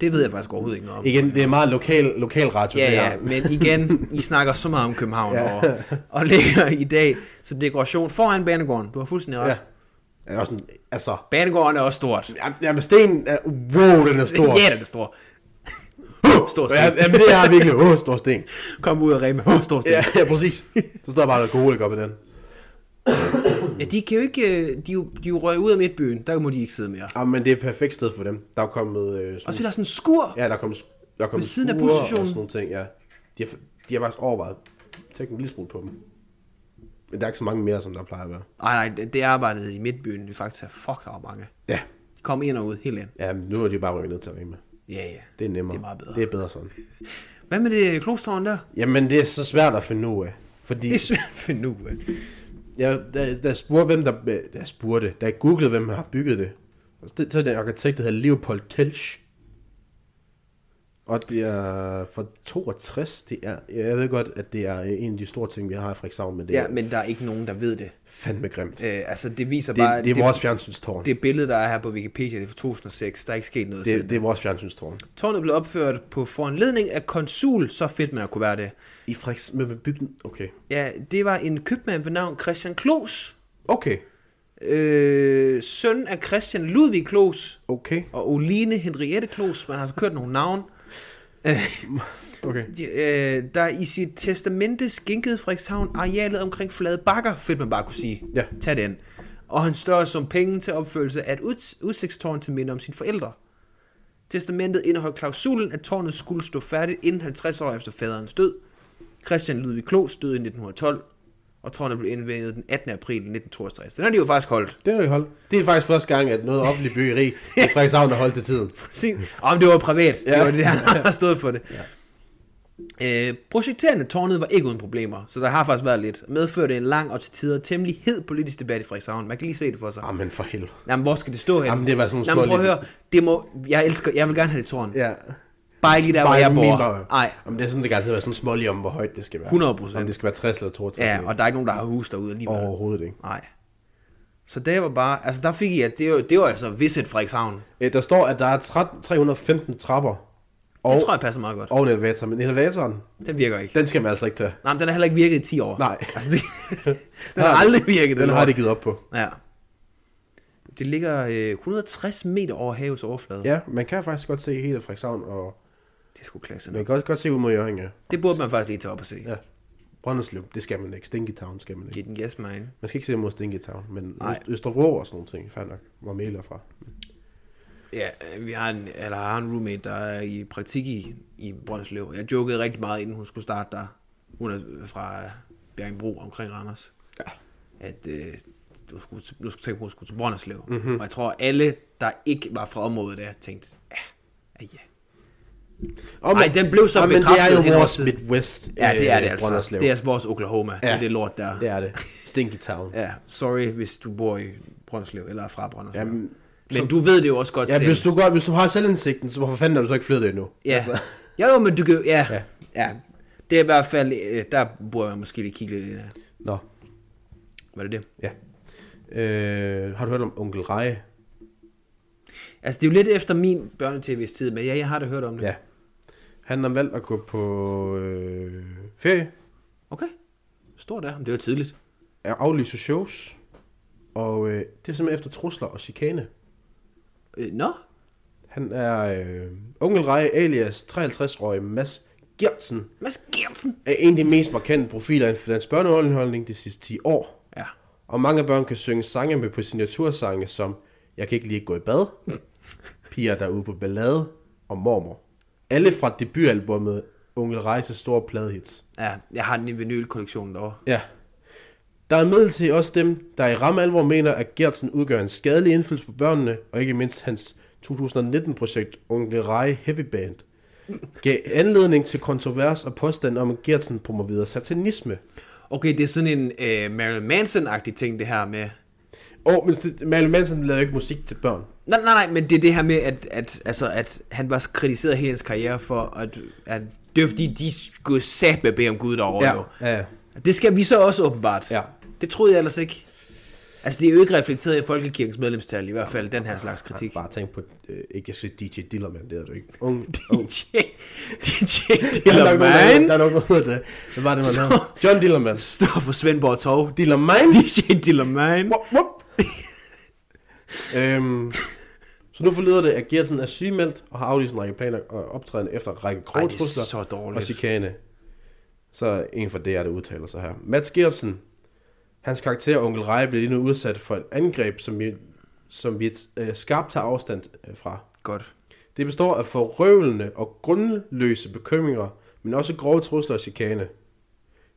Det ved jeg faktisk overhovedet ikke noget om.
Igen, det er meget lokal, lokal radio,
Ja,
det
ja,
her.
men igen, I snakker så meget om København ja. og, og ligger i dag som dekoration foran banegården. Du har fuldstændig ret. Ja.
Ja. Er også sådan, altså...
Banegården er også stort.
jam- Jamen, stenen er... Wow, den er stor.
Ja, den er stor. stor sten.
Ja, jamen, det er virkelig... Åh, oh, stor sten.
Kom ud af Rema. Åh, stor sten.
Ja, ja, præcis. Så står der bare en alkoholik op i den.
Ja, de kan jo ikke, øh, de er jo, de er jo røget ud af midtbyen, der må de ikke sidde mere.
Jamen, men det er et perfekt sted for dem. Der er kommet... Øh,
Og så
sådan,
er der sådan en skur.
ja, der er kommet, sk- der er kommet
Ved siden af
skure
busstationen.
og sådan nogle ting, ja. De har, de har faktisk overvejet teknisk lille smule på dem. Men der er ikke så mange mere, som der plejer at være.
Nej, nej, det- det arbejdede i midtbyen, vi faktisk har fuck der var mange.
Ja.
De kom ind og ud, helt ind.
Ja, men nu er de bare rykket ned til Rema.
Ja, ja.
Det er nemmere.
Det er meget bedre.
Det er bedre sådan.
Hvad med det klostårn der?
Jamen, det er så svært at finde ud af. Fordi
Det er svært at finde ud af.
jeg, da, da jeg spurgte, hvem der, øh, da jeg spurgte, da jeg googlede, hvem der har bygget det, det så er det en arkitekt, der hedder Leopold Telsch. Og det er fra 62, det er, jeg ved godt, at det er øh, en af de store ting, vi har i Frederikshavn, men det ja,
Ja,
er
men der er ikke nogen, der ved det.
fandme grimt.
Øh, altså, det viser bare...
Det, det er vores fjernsynstårn. Det,
det billede, der er her på Wikipedia, det er fra 2006. Der er ikke sket noget siden.
det, det er vores fjernsynstårn.
Tårnet blev opført på foranledning af konsul, så fedt man kunne være det.
I Frederiks... Men men bygden... Okay.
Ja, det var en købmand ved navn Christian Klos,
Okay.
øh, søn af Christian Ludvig Klos
Okay.
og Oline Henriette Klos. Man har så kørt nogle navn. Øh,
Okay.
De, øh, der i sit testamente skænkede Frederikshavn arealet omkring Flade Bakker, fedt man bare kunne sige.
Ja.
Tag den. Og han større som penge til opførelse af et uds- udsigtstårn til minde om sine forældre. Testamentet indeholdt klausulen, at tårnet skulle stå færdigt inden 50 år efter faderens død. Christian Ludvig Klos døde i 1912, og tårnet blev indvendet den 18. april 1962. Den har de jo faktisk holdt.
Det har de holdt. Det er faktisk første gang, at noget offentligt byggeri i Frederikshavn har holdt til tiden.
Om det var privat, ja. det
Ja.
var det, han har stået for det. Ja. Øh, projekterende tårnet var ikke uden problemer, så der har faktisk været lidt. Medførte en lang og til tider temmelig hed politisk debat i Frederikshavn. Man kan lige se det for sig.
Jamen for helvede.
Jamen, hvor skal det stå hen?
Jamen, det var sådan nogle
Jamen,
små
prøv at høre. Det må, jeg elsker, jeg vil gerne have det tårn. Ja.
Ja.
Bare ikke lige der,
Bare
hvor jeg
min
bor.
baghave.
Nej,
Jamen det er sådan, det kan altid være sådan smålig om, hvor højt det skal være.
100%.
Om det skal være 60 eller 62.
ja, og der er ikke nogen, der har hus derude alligevel.
Overhovedet ikke.
Nej. Så det var bare, altså der fik I, altså, det, var, det var altså visit Frederikshavn.
Æ, Øh, der står, at der er 13 315 trapper og,
Det tror jeg passer meget godt.
og en elevator. Men elevatoren,
Den virker ikke.
den skal man altså ikke tage.
Nej, men den har heller ikke virket i 10 år.
Nej.
Altså, det, den har aldrig virket.
Den
lort.
har de givet op på.
Ja. Det ligger øh, 160 meter over havets overflade.
Ja, man kan faktisk godt se hele Frederikshavn, og
Det skulle klasse.
man kan godt, godt se ud mod Jørgen, ja.
Det burde man faktisk lige tage op og se. Ja.
ja. Brønderslev, det skal man ikke. Stinky Town skal man ikke.
Get den gas mine.
Man skal ikke se mod Stinky Town, men
Nej.
Øst- Østerbro og sådan nogle ting, fair nok, hvor Mæle er fra.
Ja, øh, vi har en, eller har en roommate, der er i praktik i, i Brønderslev. Jeg jokede rigtig meget, inden hun skulle starte der. Hun er fra øh, Bjerringbro omkring Randers.
Ja.
At øh, du, skulle, til- du skulle tænke på, at hun skulle til Brønderslev.
Mhm.
Mm-hmm. Og jeg tror, alle, der ikke var fra området der, tænkte, ja, ja, ja.
Og
Ej, den blev så
Ej, men det
bekræftet
er
hen
jo
over
vores
tiden.
Midwest
Ja, det er det
øh,
altså.
Brønderslev.
Det er altså vores Oklahoma. Ja. Det er
Ja.
det lort, der er.
det, er det. Stinky Town.
Ja, sorry, hvis du bor i Brønderslev, eller er fra Brønderslev. Jamen,
Jamen,
men du ved det jo også godt
ja,
selv.
hvis, du godt, hvis du har selvindsigten, så hvorfor fanden er du så ikke flyttet endnu?
Ja. Altså. Jo, jo, men du kan jo- ja. ja.
Ja.
ja. Det er i hvert fald, øh, der burde jeg måske lige kigge lidt i det.
Nå,
Var det det?
ja. Øh, har du hørt om Onkel Reje?
Altså, det er jo lidt efter min børnetv's tid, men ja, jeg har da hørt om det.
Ja. Han har valgt at gå på øh, ferie,
Okay. Stort af ham, det var tidligt.
at aflyse shows, og øh, det er simpelthen efter trusler og chikane.
Øh, nå?
Han er øh, Onkel Reje alias 53-årig Mads Gertsen,
Mads Gertsen.
er en af de mest markante profiler inden for dansk børneunderholdning de sidste 10 år.
Ja.
Og mange børn kan synge sange med på signatursange som Jeg kan ikke lige gå i bad, Piger der er ude på ballade og Mormor. Alle fra debutalbummet Onkel Rejse store pladehits.
Ja, jeg har den i vinylkollektionen derovre.
Ja. Der er imidlertid også dem, der i ramme alvor mener, at Gertsen udgør en skadelig indflydelse på børnene, og ikke mindst hans 2019-projekt Onkel Rej Heavy Band, gav anledning til kontrovers og påstand om, at Gertsen promoverede satanisme.
Okay, det er sådan en øh, Marilyn Manson-agtig ting, det her med...
Åh, oh, men det- Marilyn Manson lavede jo ikke musik til børn.
Nej, nej, nej, men det er det her med, at, at, altså, at han var kritiseret hele hans karriere for, at, at det var fordi, de skulle sat med bede om Gud derovre.
Ja,
jo.
ja,
Det skal vi så også åbenbart.
Ja.
Det troede jeg ellers ikke. Altså, det er jo ikke reflekteret i Folkekirkens medlemstal, i hvert fald den her slags kritik.
Bare tænk på, øh, ikke jeg siger DJ Dillermand, det er du ikke. Ung, ung.
DJ, DJ
Der er nok nogen, der-
Dillerman
Der er nok noget af det. Hvad var det, man lavede? John Dillermand.
står på Svendborg Torv.
Dillermand.
DJ Dillerman.
Wup, wup. øhm, så nu forlyder det, at Gertsen er sygemeldt og har aflyst en række planer og optræden efter række
Ej, det er
krogtrusler
så
og
dårligt.
chikane. Så er en fra DR, der udtaler sig her. Mads Gertsen, hans karakter Onkel Rej, blev lige nu udsat for et angreb, som vi, som vi øh, skarpt tager afstand øh, fra.
Godt.
Det består af forrøvlende og grundløse bekymringer, men også grove trusler og chikane.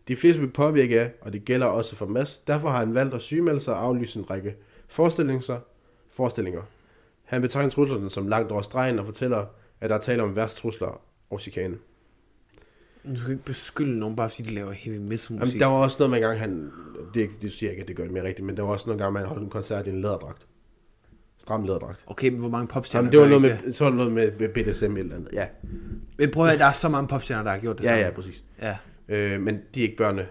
De fleste vil påvirke af, og det gælder også for Mads. Derfor har han valgt at sygemelde sig og aflyse en række forestillinger. forestillinger. Han betegner truslerne som langt over stregen og fortæller, at der er tale om værst trusler og chikane.
Nu skal du ikke beskylde nogen, bare fordi de laver heavy metal musik.
Jamen, der var også noget med en gang, han... Det, er ikke- det siger jeg ikke, at det gør det mere rigtigt, men der var også nogle gange, man holdt en koncert i en læderdragt. Stram læderdragt.
Okay, men hvor mange popstjerner
Jamen, det var
gør
noget
ikke
med, så var det noget med, med BDSM eller et eller andet. Ja,
det? Men prøv at høre, der er så mange popstjerner, der har gjort det
ja,
samme.
ja, præcis.
ja.
Øh, men de er ikke børne.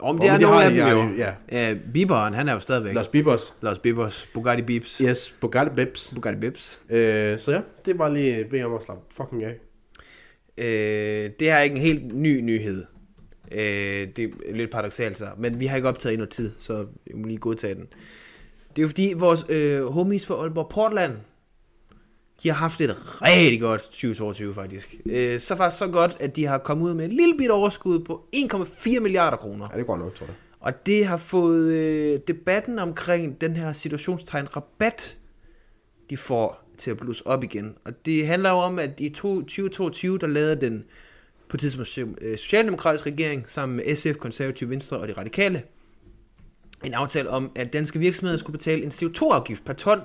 Om
Åh,
det er
men de
nogle
har
af
de,
dem
ja,
jo.
ja.
ja. Bieberen, han er jo stadigvæk. Lars,
Lars Bibers.
Lars Biebers, Bugatti Biebs.
Yes, Bugatti Bips.
Bugatti Biebs.
Øh, så ja, det er bare lige at bede om at slappe fucking af.
Øh, det her er ikke en helt ny nyhed. Øh, det er lidt paradoxalt så, men vi har ikke optaget i noget tid, så jeg må lige godtage den. Det er jo fordi, vores øh, homies fra Aalborg Portland, de har haft et rigtig godt 2022 faktisk. Øh, så faktisk så godt, at de har kommet ud med et lille bit overskud på 1,4 milliarder kroner.
Ja, det går nok, tror jeg.
Og det har fået øh, debatten omkring den her situationstegn rabat, de får til at blusse op igen. Og det handler jo om, at i to- 2022, der lavede den på et tidspunkt so- øh, socialdemokratiske regering sammen med SF, Konservative Venstre og de radikale, en aftale om, at danske virksomheder skulle betale en CO2-afgift per ton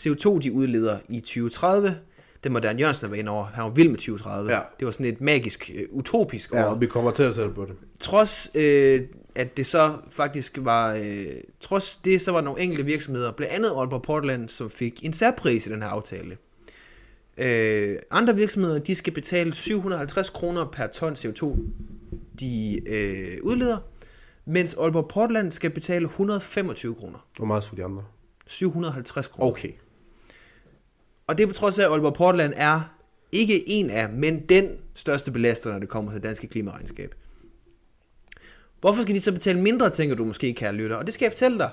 CO2, de udleder i 2030. Det må Dan Jørgensen have været inde over. Han var vild med 2030.
Ja.
Det var sådan et magisk, øh, utopisk
Ja,
år
og vi kommer til at sætte på det.
trods øh, at det så faktisk var, øh, trods det, så var der nogle enkelte virksomheder, blandt andet Aalborg Portland, som fik en særpris i den her aftale. Øh, andre virksomheder, de skal betale 750 kroner per ton CO2, de øh, udleder, mens Aalborg Portland skal betale 125 kroner.
Hvor meget for de andre?
750 kroner.
Okay.
Og det er på trods af, at Aalborg Portland er ikke en af, men den største belaster, når det kommer til det danske klimaregnskab. Hvorfor skal de så betale mindre, tænker du måske, kære lytter? Og det skal jeg fortælle dig.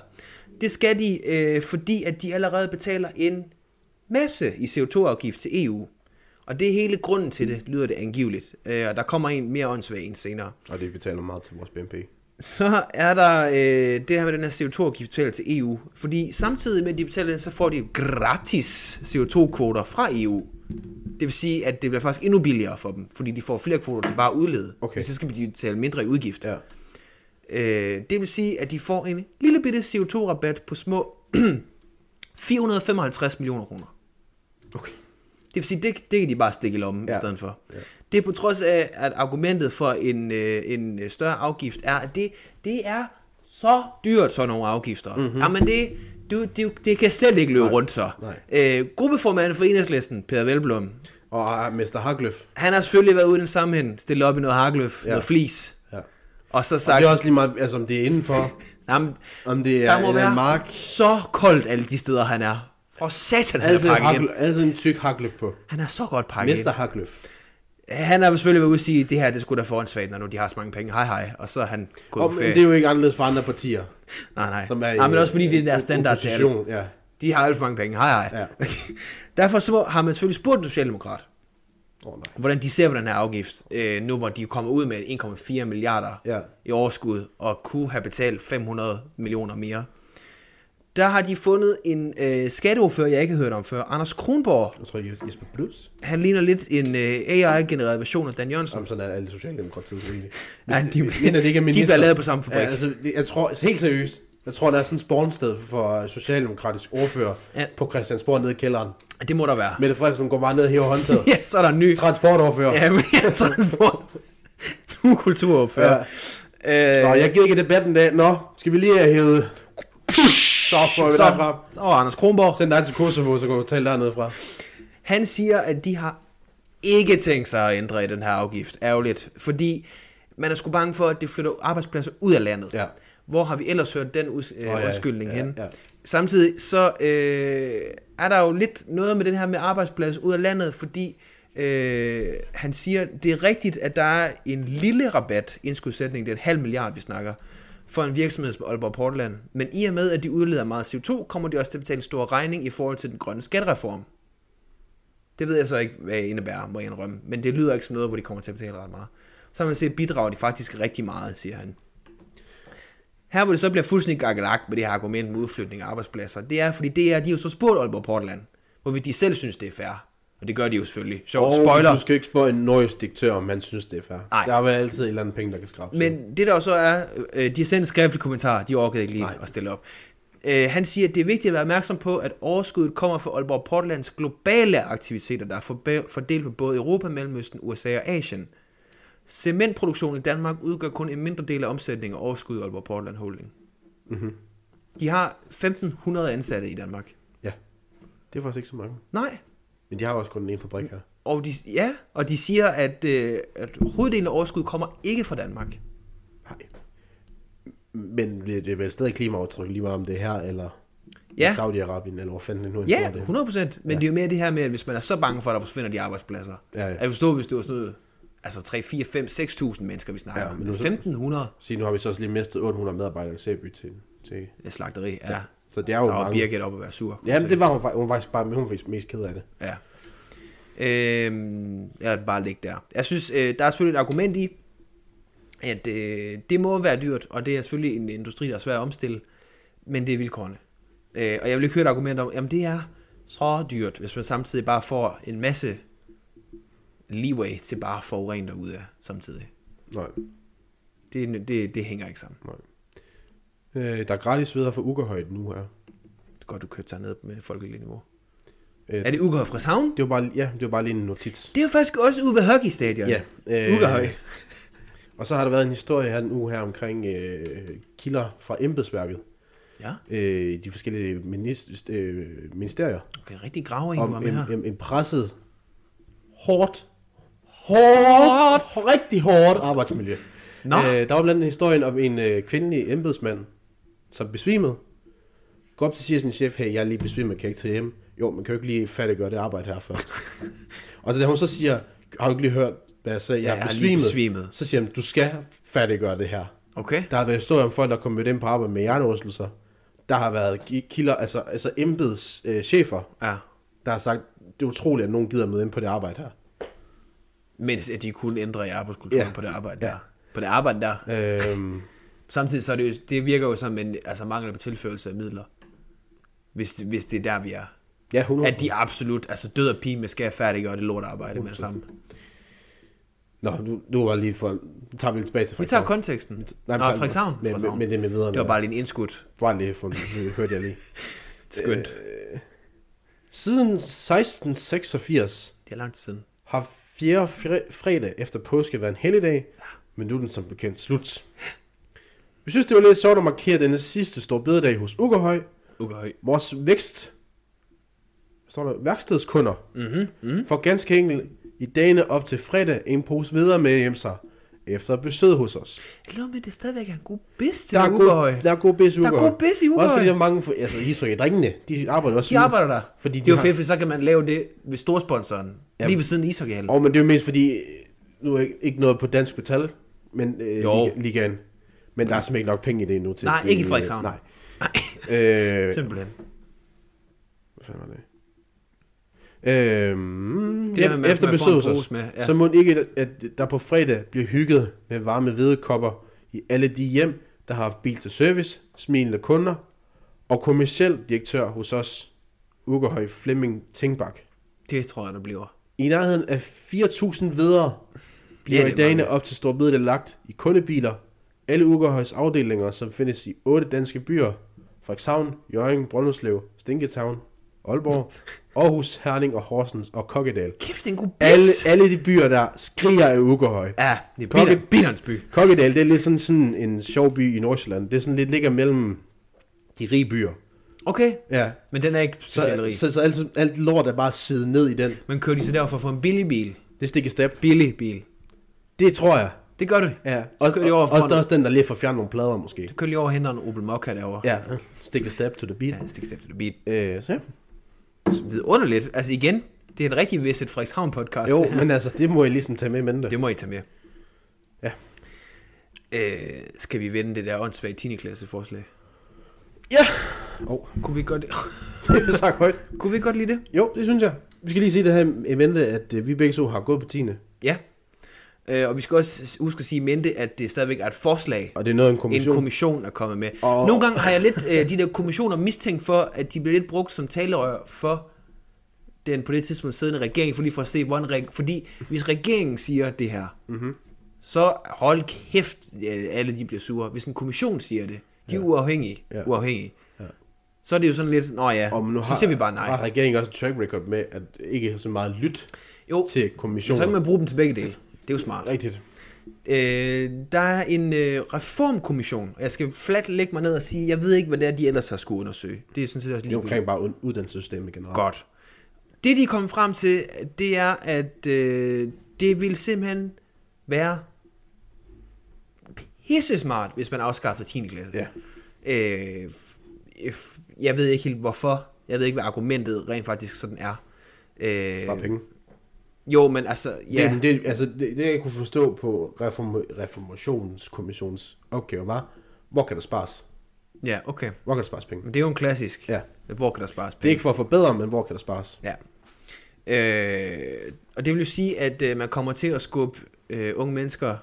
Det skal de, øh, fordi at de allerede betaler en masse i CO2-afgift til EU. Og det er hele grunden til det, lyder det angiveligt. Øh, og der kommer en mere åndssvag en senere.
Og det betaler meget til vores BNP.
Så er der øh, det her med den her CO2-afgift betalt til EU. Fordi samtidig med, at de betaler den, så får de gratis CO2-kvoter fra EU. Det vil sige, at det bliver faktisk endnu billigere for dem, fordi de får flere kvoter til bare at udlede.
Okay.
Men Så skal de betale mindre i udgift.
Ja.
Øh, det vil sige, at de får en lille bitte CO2-rabat på små 455 millioner kroner.
Okay.
Det vil sige, det, det kan de bare stikke i lommen ja.
Ja.
i stedet for. Ja.
Ja.
Det er på trods af, at argumentet for en, øh, en øh, større afgift er, at det, det er så dyrt, sådan nogle afgifter. Mm-hmm. Jamen det, du, det, det kan slet ikke løbe Nej. rundt så.
Nej.
Øh, gruppeformanden for Enhedslisten, Peter Velblom,
Og ah, Mr. Hagløf.
han har selvfølgelig været ude i den sammenhæng, stillet op i noget harkløf, ja.
Ja.
noget flis,
Ja.
og så
Og
sagt,
det er også lige meget, altså om det er indenfor,
jamen,
om det er
der må
en
være
mark.
så koldt alle de steder, han er. For satan, han
Altså,
er pakket ind.
Hagløf, altså en tyk Hagløf på.
Han er så godt pakket ind.
Mr. Hagløf.
Han har selvfølgelig været ude at sige, at det her det skulle da foran svagt, når nu de har så mange penge. Hej hej. Og så er han gået
Og,
på
men
ferie.
det er jo ikke anderledes for andre partier.
nej, nej.
Som er i,
nej, men også fordi det er
øh,
deres standard til alt.
opposition, Ja.
De har alt for mange penge. Hej hej.
Ja.
Derfor så har man selvfølgelig spurgt en socialdemokrat,
Åh oh, nej.
hvordan de ser på den her afgift, øh, nu hvor de er kommet ud med 1,4 milliarder
Ja.
i overskud, og kunne have betalt 500 millioner mere. Der har de fundet en øh, skatteordfører, jeg ikke har hørt om før, Anders Kronborg.
Jeg tror, Jes- Jesper Bluts.
Han ligner lidt en øh, AI-genereret version af Dan Jørgensen.
Som sådan er alle socialdemokratiet egentlig.
Ja, de-
mener, det ikke
de
er minister.
bliver lavet på samme fabrik.
Ja, altså, det- jeg tror, helt seriøst, jeg tror, der er sådan et spawnsted for øh, socialdemokratisk ordfører
Ja.
ja. på Christiansborg nede i kælderen.
Det må der være.
Mette Frederiksen går bare ned og hæver håndtaget.
Ja, så er der en ny.
Transportordfører. Ja.
Ja, men jeg er transport. Du er kulturordfører. Ja. Øh,
Nå, jeg gider ikke i debatten i dag. Nå, skal vi lige have hævet... Så får vi
så,
derfra.
og Anders Kronborg,
Send dig til Kosovo, så kan du tale dernede fra.
han siger, at de har ikke tænkt sig at ændre i den her afgift. Ærgerligt, fordi man er sgu bange for, at det flytter arbejdspladser ud af landet.
Ja.
Hvor har vi ellers hørt den us- øh,
Åh, ja,
undskyldning
ja,
hen?
ja.
Samtidig så øh, er der jo lidt noget med den her med arbejdspladser ud af landet, fordi øh, han siger, det er rigtigt, at der er en lille rabat, indskudsætning, det er en halv milliard, vi snakker, for en virksomhed som Aalborg Portland. Men i og med, at de udleder meget CO2, kommer de også til at betale en stor regning i forhold til den grønne skattereform. Det ved jeg så ikke, hvad det indebærer, må jeg indrømme. Men det lyder ikke som noget, hvor de kommer til at betale ret meget. Så har man set, bidrager de faktisk rigtig meget, siger han. Her hvor det så bliver fuldstændig gakkelagt med det her argument med udflytning af arbejdspladser, det er, fordi det er, de har jo så spurgt Aalborg Portland, hvorvidt de selv synes, det er fair. Og det gør de jo selvfølgelig. Sjovt,
Og
oh, spoiler.
du skal ikke spørge en nordisk diktør, om han synes, det er fair.
Nej.
Der er vel altid et eller andet penge, der kan skrabe.
Men det der jo så er, øh, de har sendt en skriftlig kommentar, de orkede ikke lige Nej. at stille op. Øh, han siger, at det er vigtigt at være opmærksom på, at overskuddet kommer fra Aalborg Portlands globale aktiviteter, der er forbe- fordelt på både Europa, Mellemøsten, USA og Asien. Cementproduktion i Danmark udgør kun en mindre del af omsætningen og overskud i Aalborg Portland Holding.
Mm-hmm.
De har 1500 ansatte i Danmark.
Ja. Det er faktisk ikke så mange.
Nej.
Men de har også kun den ene fabrik her.
Og de, ja, og de siger, at, øh, at hoveddelen af overskuddet kommer ikke fra Danmark.
Nej. Men bliver det er vel stadig klimaaftryk lige meget om det er her, eller
Ja.
i Saudi-Arabien, eller hvor fanden det nu end
Ja,
bor det.
100 procent. Men ja.
Ja.
det er jo mere det her med, at hvis man er så bange for, at der forsvinder de arbejdspladser.
Ja, ja.
Jeg forstår, hvis det var sådan noget, altså 3, 4, 5, 6.000 mennesker, vi snakker
Ja,
ja, om.
men nu så-
1500
Sige, nu har vi så også lige mistet 800 medarbejdere i Sæby til, til.
slagteri, ja.
Så det er jo
Der var
mange.
Birgit op at være sur. kunne jeg
Jamen, det var hun, fa- hun var faktisk bare hun var faktisk mest ked af det.
Ja. Øhm, eller bare ligge der. Jeg synes, øh, der er selvfølgelig et argument i, at øh, det må være dyrt, og det er selvfølgelig en industri, der er svær at omstille, men det er vilkårene. Øh, og jeg vil ikke høre et argument om, jamen det er så dyrt, hvis man samtidig bare får en masse leeway til bare at forurene derude af samtidig.
Nej.
Det, det, det hænger ikke sammen.
Øh, der er gratis videre for Ukkerhøjt nu her.
Det er godt, du kørte sig ned med folkeligt niveau.
Øh,
Er det Uga og Frederikshavn?
Det var bare, ja, det var bare lige en notits.
Det er jo faktisk også Uwe Hockey Stadion.
Ja. øh,
Ukkerhøj.
Og så har der været en historie her den uge her omkring øh, kilder fra embedsværket.
Ja,
Øh, de forskellige minist, øh, ministerier.
okay, rigtig graver en, du har
Om
med her.
en, en, en presset, hårdt, hårdt, rigtig hårdt arbejdsmiljø.
Nå.
Øh, der var blandt andet historien om en øh, kvindelig embedsmand, som besvimede. Går op til siger sin chef, hey, jeg er lige besvimet, kan jeg ikke tage hjem? Jo, man kan jo ikke lige færdiggøre det arbejde her først. og da hun så siger, har du ikke lige hørt, hvad jeg sagde? Jeg,
Ja,
er
jeg er lige
besvimet.
besvimet.
Så siger han, du skal færdiggøre det her.
Okay.
Der har været historier om folk, der er kommet mødt ind på arbejde med hjernerystelser. Der har været ki- kilder, altså, altså embeds øh, chefer,
Ja.
der har sagt, det er utroligt, at nogen gider møde ind på det arbejde her.
Mens at de kunne ændre i arbejdskulturen ja.
Ja.
på det arbejde
Ja.
der. På det arbejde der.
Øhm,
Samtidig så er det, jo- det virker jo som en altså mangel på tilførelse af midler. Hvis, det- hvis det er der, vi er.
ja, 100.
At de absolut, altså død og pige med skal færdiggøre det lort arbejde med det samme.
Nå, nu, nu var lige for... Nu tager vi lidt tilbage til
Vi tager konteksten. Nej, Nå,
tager-
Frederikshavn.
Men, men,
Frederikshavn.
men det med videre.
Det var bare lige en indskudt.
bare lige for... det hørte jeg lige.
Skønt.
Øh. Siden 1686
Det er lang tid siden.
har fjerde fre- fredag efter påske været en helligdag, men nu er den som bekendt slut. Vi synes, det var lidt sjovt at markere denne sidste store bededag hos Ukkerhøj.
Ukkerhøj.
Vores vækst, hvad står der, værkstedskunder,
Mm-hmm. Mm.
får ganske enkelt i dagene op til fredag en pose videre med hjem sig efter besøg hos os.
Jeg lover med, at det stadigvæk er en god bis til
Der er,
Ukkerhøj.
god, der er god bis i
Der er
Ugerhøj.
god bis i
Også fordi
Ukkerhøj.
der er mange, for, altså ishockey drengene, de arbejder også
De arbejder der.
Fordi
Fordi
de
de det er jo
har-
fedt, for så kan man lave det ved storsponsoren. Lige ved siden af ishockeyhallen.
Og men det er jo mest fordi, øh, nu er ikke, ikke noget på dansk metal, men øh,
Jo.
liga, ligaen. Men der er simpelthen ikke nok penge i det endnu. Til,
Nej,
at det,
ikke i Frederikshavn.
Nej.
Nej,
Øh,
simpelthen.
hvad fanden var det? Øhm,
Det der med,
ja,
man-
efter
man
besøg
får en
hos os,
pose med, ja.
så må ikke, at der på fredag bliver hygget med varme hvedekopper i alle de hjem, der har haft bil til service, smilende kunder og kommersiel direktør hos os, Ugerhøj Flemming Tingbak.
Det tror jeg, der bliver.
I nærheden af 4.000 videre bliver
Ja, det
ja,
er
i dagene
mange.
op til Storbededag lagt i kundebiler. Alle Ugerhøjs afdelinger, som findes i otte danske byer, Frederikshavn, Jørgen, Brønderslev, Stinketown, Aalborg, Aarhus, Herning og Horsens og Kokkedal.
Kæft, det er en god bis.
Alle, alle de byer, der skriger af Ugerhøj.
Ja, det er
Kokke-
Bitter- Bitterns by.
Kokkedal, det er lidt sådan, sådan en sjov by i Nordsjælland. Det er sådan lidt ligger mellem de rige byer.
Okay,
Ja,
men den er ikke
så,
specielt rig.
så, så, alt, alt lort er bare siddet ned i den.
Men kører de så derfor for en billig bil?
Det stikker step.
Billig bil.
Det tror jeg.
Det gør du.
Ja,
kører de over
også, også,
foran.
der er også den, der lige får fjernet nogle plader måske.
Så kører lige over og henter en Opel Mokka derovre.
Ja, stick a step to the beat.
Ja, stik step til det beat.
Øh, så ja.
Vidunderligt. Altså igen, det er en rigtig Visit Frederikshavn podcast.
Jo,
det her.
men altså, det må jeg ligesom tage med i mente.
Det må I tage med.
Ja.
Øh, skal vi vende det der åndssvage 10. klasse forslag?
Ja! Åh, oh,
Kunne vi godt,
det er sagt højt.
kunne vi godt lide det?
Jo, det synes jeg. Vi skal lige sige det her i mente, at øh, vi begge to har gået på 10.
Ja. Øh, og vi skal også huske at sige i mente, at det stadigvæk er et forslag,
Og det er noget af en kommission.
kommission. en kommission er kommet med. Og...
Og-
Nogle gange har jeg lidt øh, de der kommissioner mistænkt for, at de bliver lidt brugt som talerør for den på det tidspunkt siddende regering, for lige for at se, hvordan reg- fordi hvis regeringen siger det her, mm-hmm.
Mhm.
så hold kæft, øh, alle de bliver sure. Hvis en kommission siger det, de er ja. uafhængige, ja.
Ja.
uafhængige ja. så er det jo sådan lidt, nå ja,
Og nu
så
har,
siger vi bare nej.
har regeringen også et track record med, at ikke så meget lyt
Jo,
til
så
kommissioner.
kan man bruge dem til begge dele. Det er jo smart.
Rigtigt.
Øh, der er en øh, reformkommission. Jeg skal flat lægge mig ned og sige, jeg ved ikke, hvad det er, de ellers har skulle undersøge. Det er sådan set også
Det er
lige
omkring bare ud- uddannelsessystemet generelt.
Godt. Det, de er kommet frem til, det er, at øh, det vil simpelthen være pissesmart, hvis man afskaffede 10. klasse.
Ja.
Øh, f- f- jeg ved ikke helt, hvorfor. Jeg ved ikke, hvad argumentet rent faktisk sådan er.
Bare
Øh,
penge.
jo, men altså,
Ja.
ja,
Det, det, altså, det, det, jeg kunne forstå på reform, reformationskommissionens opgave var, hvor kan der spares?
ja, okay.
Hvor kan der spares penge?
Men det er jo en klassisk.
Ja.
Hvor kan der spares penge?
Det er ikke for at forbedre, men hvor kan der spares?
Ja. Øh, og det vil jo sige, at øh, man kommer til at skubbe øh, unge mennesker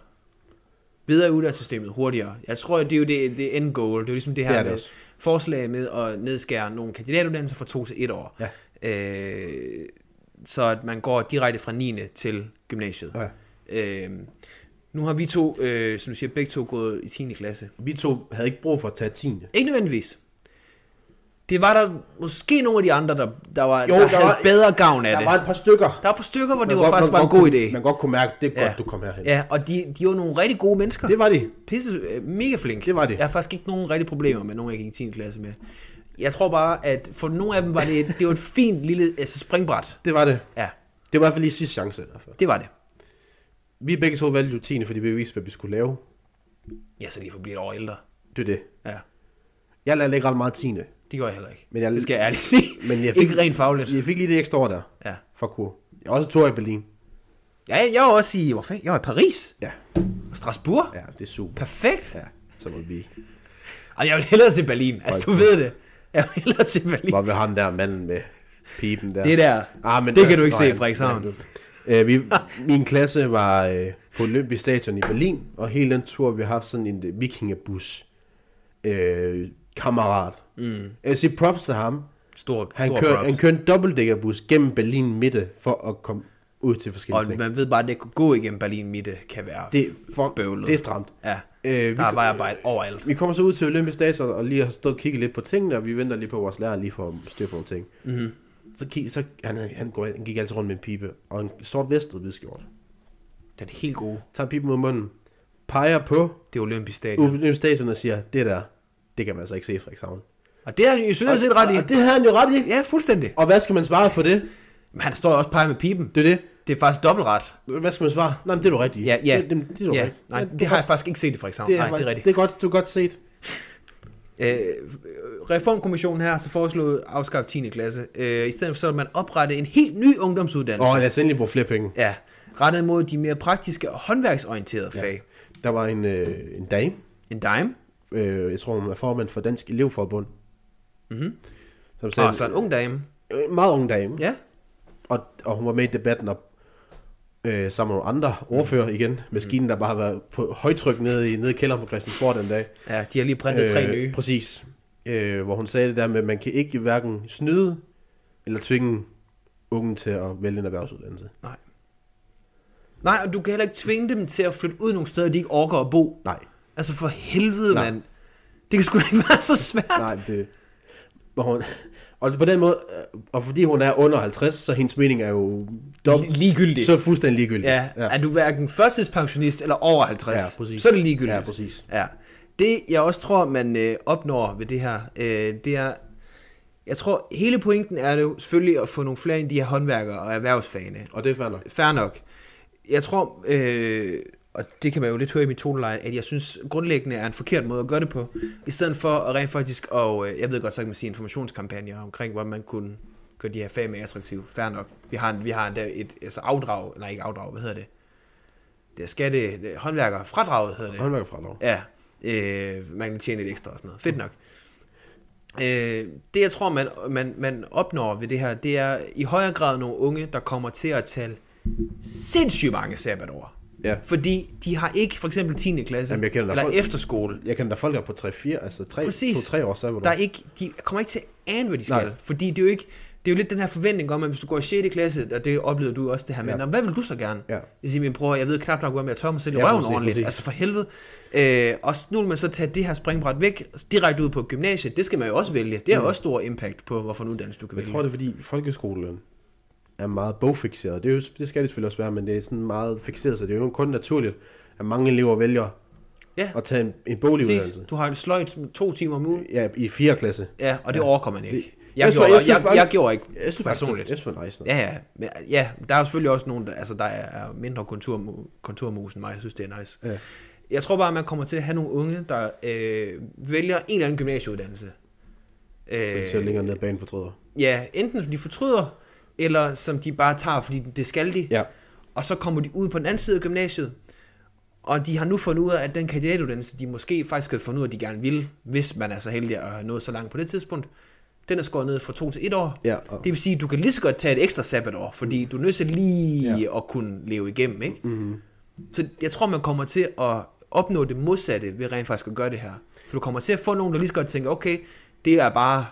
videre i uddannelsessystemet hurtigere. Jeg tror, at det er jo det, det end goal. Det er jo ligesom det her
Det er det
med
også.
forslag med at nedskære nogle kandidatuddannelser fra to til et år.
Ja.
Øh, så at man går direkte fra 9. til gymnasiet.
Ja.
Øh, nu har vi to, øh, som du siger, begge to gået i 10. klasse.
Vi to havde ikke brug for at tage 10. Jo,
Ikke nødvendigvis. Det var der måske nogle af de andre, der, der, var,
Jo,
der,
der
havde
var-
bedre gavn af det.
Der var et par stykker.
Der er på stykker, hvor det
Man
var
godt-
faktisk
man
var en
godt
god
kunne-
idé.
Man godt kunne mærke, det er
Ja.
godt, du kom herhen.
Ja, og de, de var nogle rigtig gode mennesker.
Det var de.
Pisse, øh, mega flinke.
Det var de.
Jeg har faktisk ikke nogen rigtig problemer med nogen, jeg gik i 10. klasse med. Jeg tror bare, at for nogle af dem var det, det var et fint lille altså springbræt.
Det var det.
Ja,
Det var i hvert fald lige sidste chance. i hvert fald.
det var det.
Vi begge to valgte jo 10. fordi vi viste, hvad vi skulle lave.
Ja, så lige for at blive et år ældre.
Det er det.
Ja,
Jeg lærte ikke ret meget 10.
det gør jeg heller ikke.
Men jeg-
det skal jeg ærligt sige.
Men jeg fik-
Ikke rent fagligt.
Altså, Jeg fik lige det ekstra år der
Ja.
for kur. Jeg er også to i Berlin.
ja jeg var også i, hvor fanden, jeg var i Paris
Ja,
og Strasbourg. Ja.
ja det er super.
Perfekt. Ja.
Ja, så var vi.
Og jeg vil hellere til Berlin. Altså, du
Hold
ved det. Jeg vil hellere til Berlin.
Var vi ham der manden med pipen der?
Det der,
Ah, men
det
der-
kan du ikke
nej,
se, Frederikshavn.
nej, du- Øh, vi, min klasse var øh, på Olympisk Stadion i Berlin, og hele den tur, vi har haft sådan en øh, vikingebus øh, kammerat. Mm. Jeg siger props til ham.
Stor,
Han
stor
kørte,
props.
han kørte en dobbeltdækkerbus gennem Berlin midte for at komme ud til forskellige
Og
ting.
man ved bare, at det at gå igennem Berlin midte kan være...
Det er for,
bøvlet.
Det er stramt.
ja,
Øh, vi,
der er vejarbejde overalt.
vi kommer så ud til Olympisk Stadion og lige har stået og kigget lidt på tingene, og vi venter lige på vores lærer lige for at styre på nogle ting. Mm-hmm. Så, kig, så han, han, går, han gik altid rundt med en pibe, og en sort vest og hvid skjort.
Den helt gode,
tager pipen ud af munden, peger på
det er Olympisk Stadion. Uh.
Olympisk Stadion og siger, det der, det kan man altså ikke se i Frederikshavn.
Og det har han jo synes set ret i.
Og det havde han jo ret i.
Ja, fuldstændig.
Og hvad skal man svare på det?
Men han står også og peger med pipen.
Det er det.
Det er faktisk dobbeltret.
Hvad skal man svare? Nej, men det er du rigtig.
Ja, ja.
Det, det, det er du
ja.
rigtig.
Nej,
Ja,
det har jeg faktisk ikke set i Frederikshavn.
det
Nej,
er,
det er
rigtigt.
rigtigt.
Det er godt, du er godt set.
Øh, reformkommissionen her har så foreslået at afskaffe 10. klasse. Øh, I stedet for så vil man oprette en helt ny ungdomsuddannelse.
Åh, lad os endelig bruge flere penge.
Ja, rettet mod de mere praktiske og håndværksorienterede fag.
Der var en, øh, en dame,
En dime.
øh, jeg tror hun er formand for Dansk Elevforbund. Mm-hmm. Som sagde,
Og Mhm. Ah, så en ung dame.
øh, meget ung dame,
Ja.
og, og hun var med i debatten og, øh, sammen med nogle andre ordfører
Mhm.
igen. Maskinen, der bare har været på højtryk nede i, nede i kælderen på Christiansborg den dag.
Ja, de har lige printet øh, tre nye.
Præcis. Øh, hvor hun sagde det der med, at man kan ikke hverken snyde eller tvinge ungen til at vælge en erhvervsuddannelse.
Nej. Nej, og du kan heller ikke tvinge dem til at flytte ud nogle steder, de ikke orker at bo.
Nej,
Altså for helvede,
Nej.
mand. Det kan sgu da ikke være så svært.
nej, det... Hvor hun, og på den måde, øh, og fordi hun er under 50, så hendes mening er jo dum,
Ligegyldigt.
så fuldstændig ligegyldig.
Ja, ja, er du hverken førtidspensionist eller over 50,
Ja, præcis.
så er det ligegyldigt.
Ja, præcis.
Ja. Det, jeg også tror, man øh, opnår ved det her, øh, det er... Jeg tror, hele pointen er det jo selvfølgelig at få nogle flere ind i de her håndværkere og erhvervsfagene.
Og det er fair nok.
fair nok. Jeg tror, øh, og det kan man jo lidt høre i min toneleje, at jeg synes grundlæggende er en forkert måde at gøre det på. I stedet for at rent faktisk, og øh, jeg ved godt, så kan man sige informationskampagner omkring, hvor man kunne gøre de her fag mere attraktive. Fair nok. Vi har, en, vi har endda et altså afdrag, nej ikke afdrag, hvad hedder det? Det er skatte, det er håndværker, fradraget hedder det.
Håndværkerfradrag.
Ja, øh, man kan tjene lidt ekstra og sådan noget. Fedt nok. Øh, det jeg tror, man, man, man opnår ved det her, det er i højere grad nogle unge, der kommer til at tale sindssygt mange sabbatår.
Ja.
Fordi de har ikke for eksempel 10. klasse
Jamen, jeg kender da
eller
folk-
efterskole.
Jeg kan da folk er på 3-4, altså 3,
Præcis.
2-3 år, så er det
Der er ikke, de kommer ikke til at ane, hvad de skal.
Nej.
Nej. Fordi det er jo ikke... Det er jo lidt den her forventning om, at hvis du går i 6. klasse, og det oplevede du også det her med,
Ja.
ja. hvad vil du så gerne?
Ja.
Jeg siger, min bror, jeg ved knap nok, hvordan jeg tør mig selv i
Ja,
ja, røven
præcis,
ordentligt.
præcis.
Altså for helvede. Øh, og s- nu vil man så tage det her springbræt væk, direkte ud på gymnasiet. Det skal man jo også vælge. Det har mm. også stor impact på, hvorfor en uddannelse du kan
Jeg
vælge.
tror, det er fordi folkeskolen er meget bogfixeret. Det, er jo, det skal det selvfølgelig også være, men det er sådan meget fixeret, så det er jo kun naturligt, at mange elever vælger
Ja,
at tage en, en boglig
præcis.
uddannelse.
Du har jo sløjt to timer om ugen.
Ja, i 4. klasse.
Ja, og det ja. overkommer man ikke. Jeg,
Jeg
jeg, gjorde,
synes- jeg
jeg,
synes
jeg, jeg,
faktisk-
gjorde ikke
Jeg synes faktisk, det-
personligt.
jeg synes, det var nice.
Ja, ja, men, ja, der er jo selvfølgelig også nogen, der, altså, der er mindre kontur, konturmus end mig. Jeg synes, det er nice.
Ja.
Jeg tror bare, man kommer til at have nogle unge, der øh, vælger en eller anden gymnasieuddannelse. Øh,
Som tager længere ned ad banen fortryder.
Ja, enten som de fortryder, eller som de bare tager, fordi det skal de.
Ja.
Og så kommer de ud på den anden side af gymnasiet, og de har nu fundet ud af, at den kandidatuddannelse, de måske faktisk havde fundet ud af, at de gerne ville, hvis man er så heldig at have nået så langt på det tidspunkt, den er skåret ned fra to til et år.
Ja,
Det
og-
vil sige, at du kan lige så godt tage et ekstra sabbatår, fordi du er nødt til lige ja. at kunne leve igennem. Ikke?
Mhm.
Mm-hmm. Så jeg tror, man kommer til at opnå det modsatte ved rent faktisk at gøre det her. For du kommer til at få nogen, der lige så godt tænker, okay, det er bare,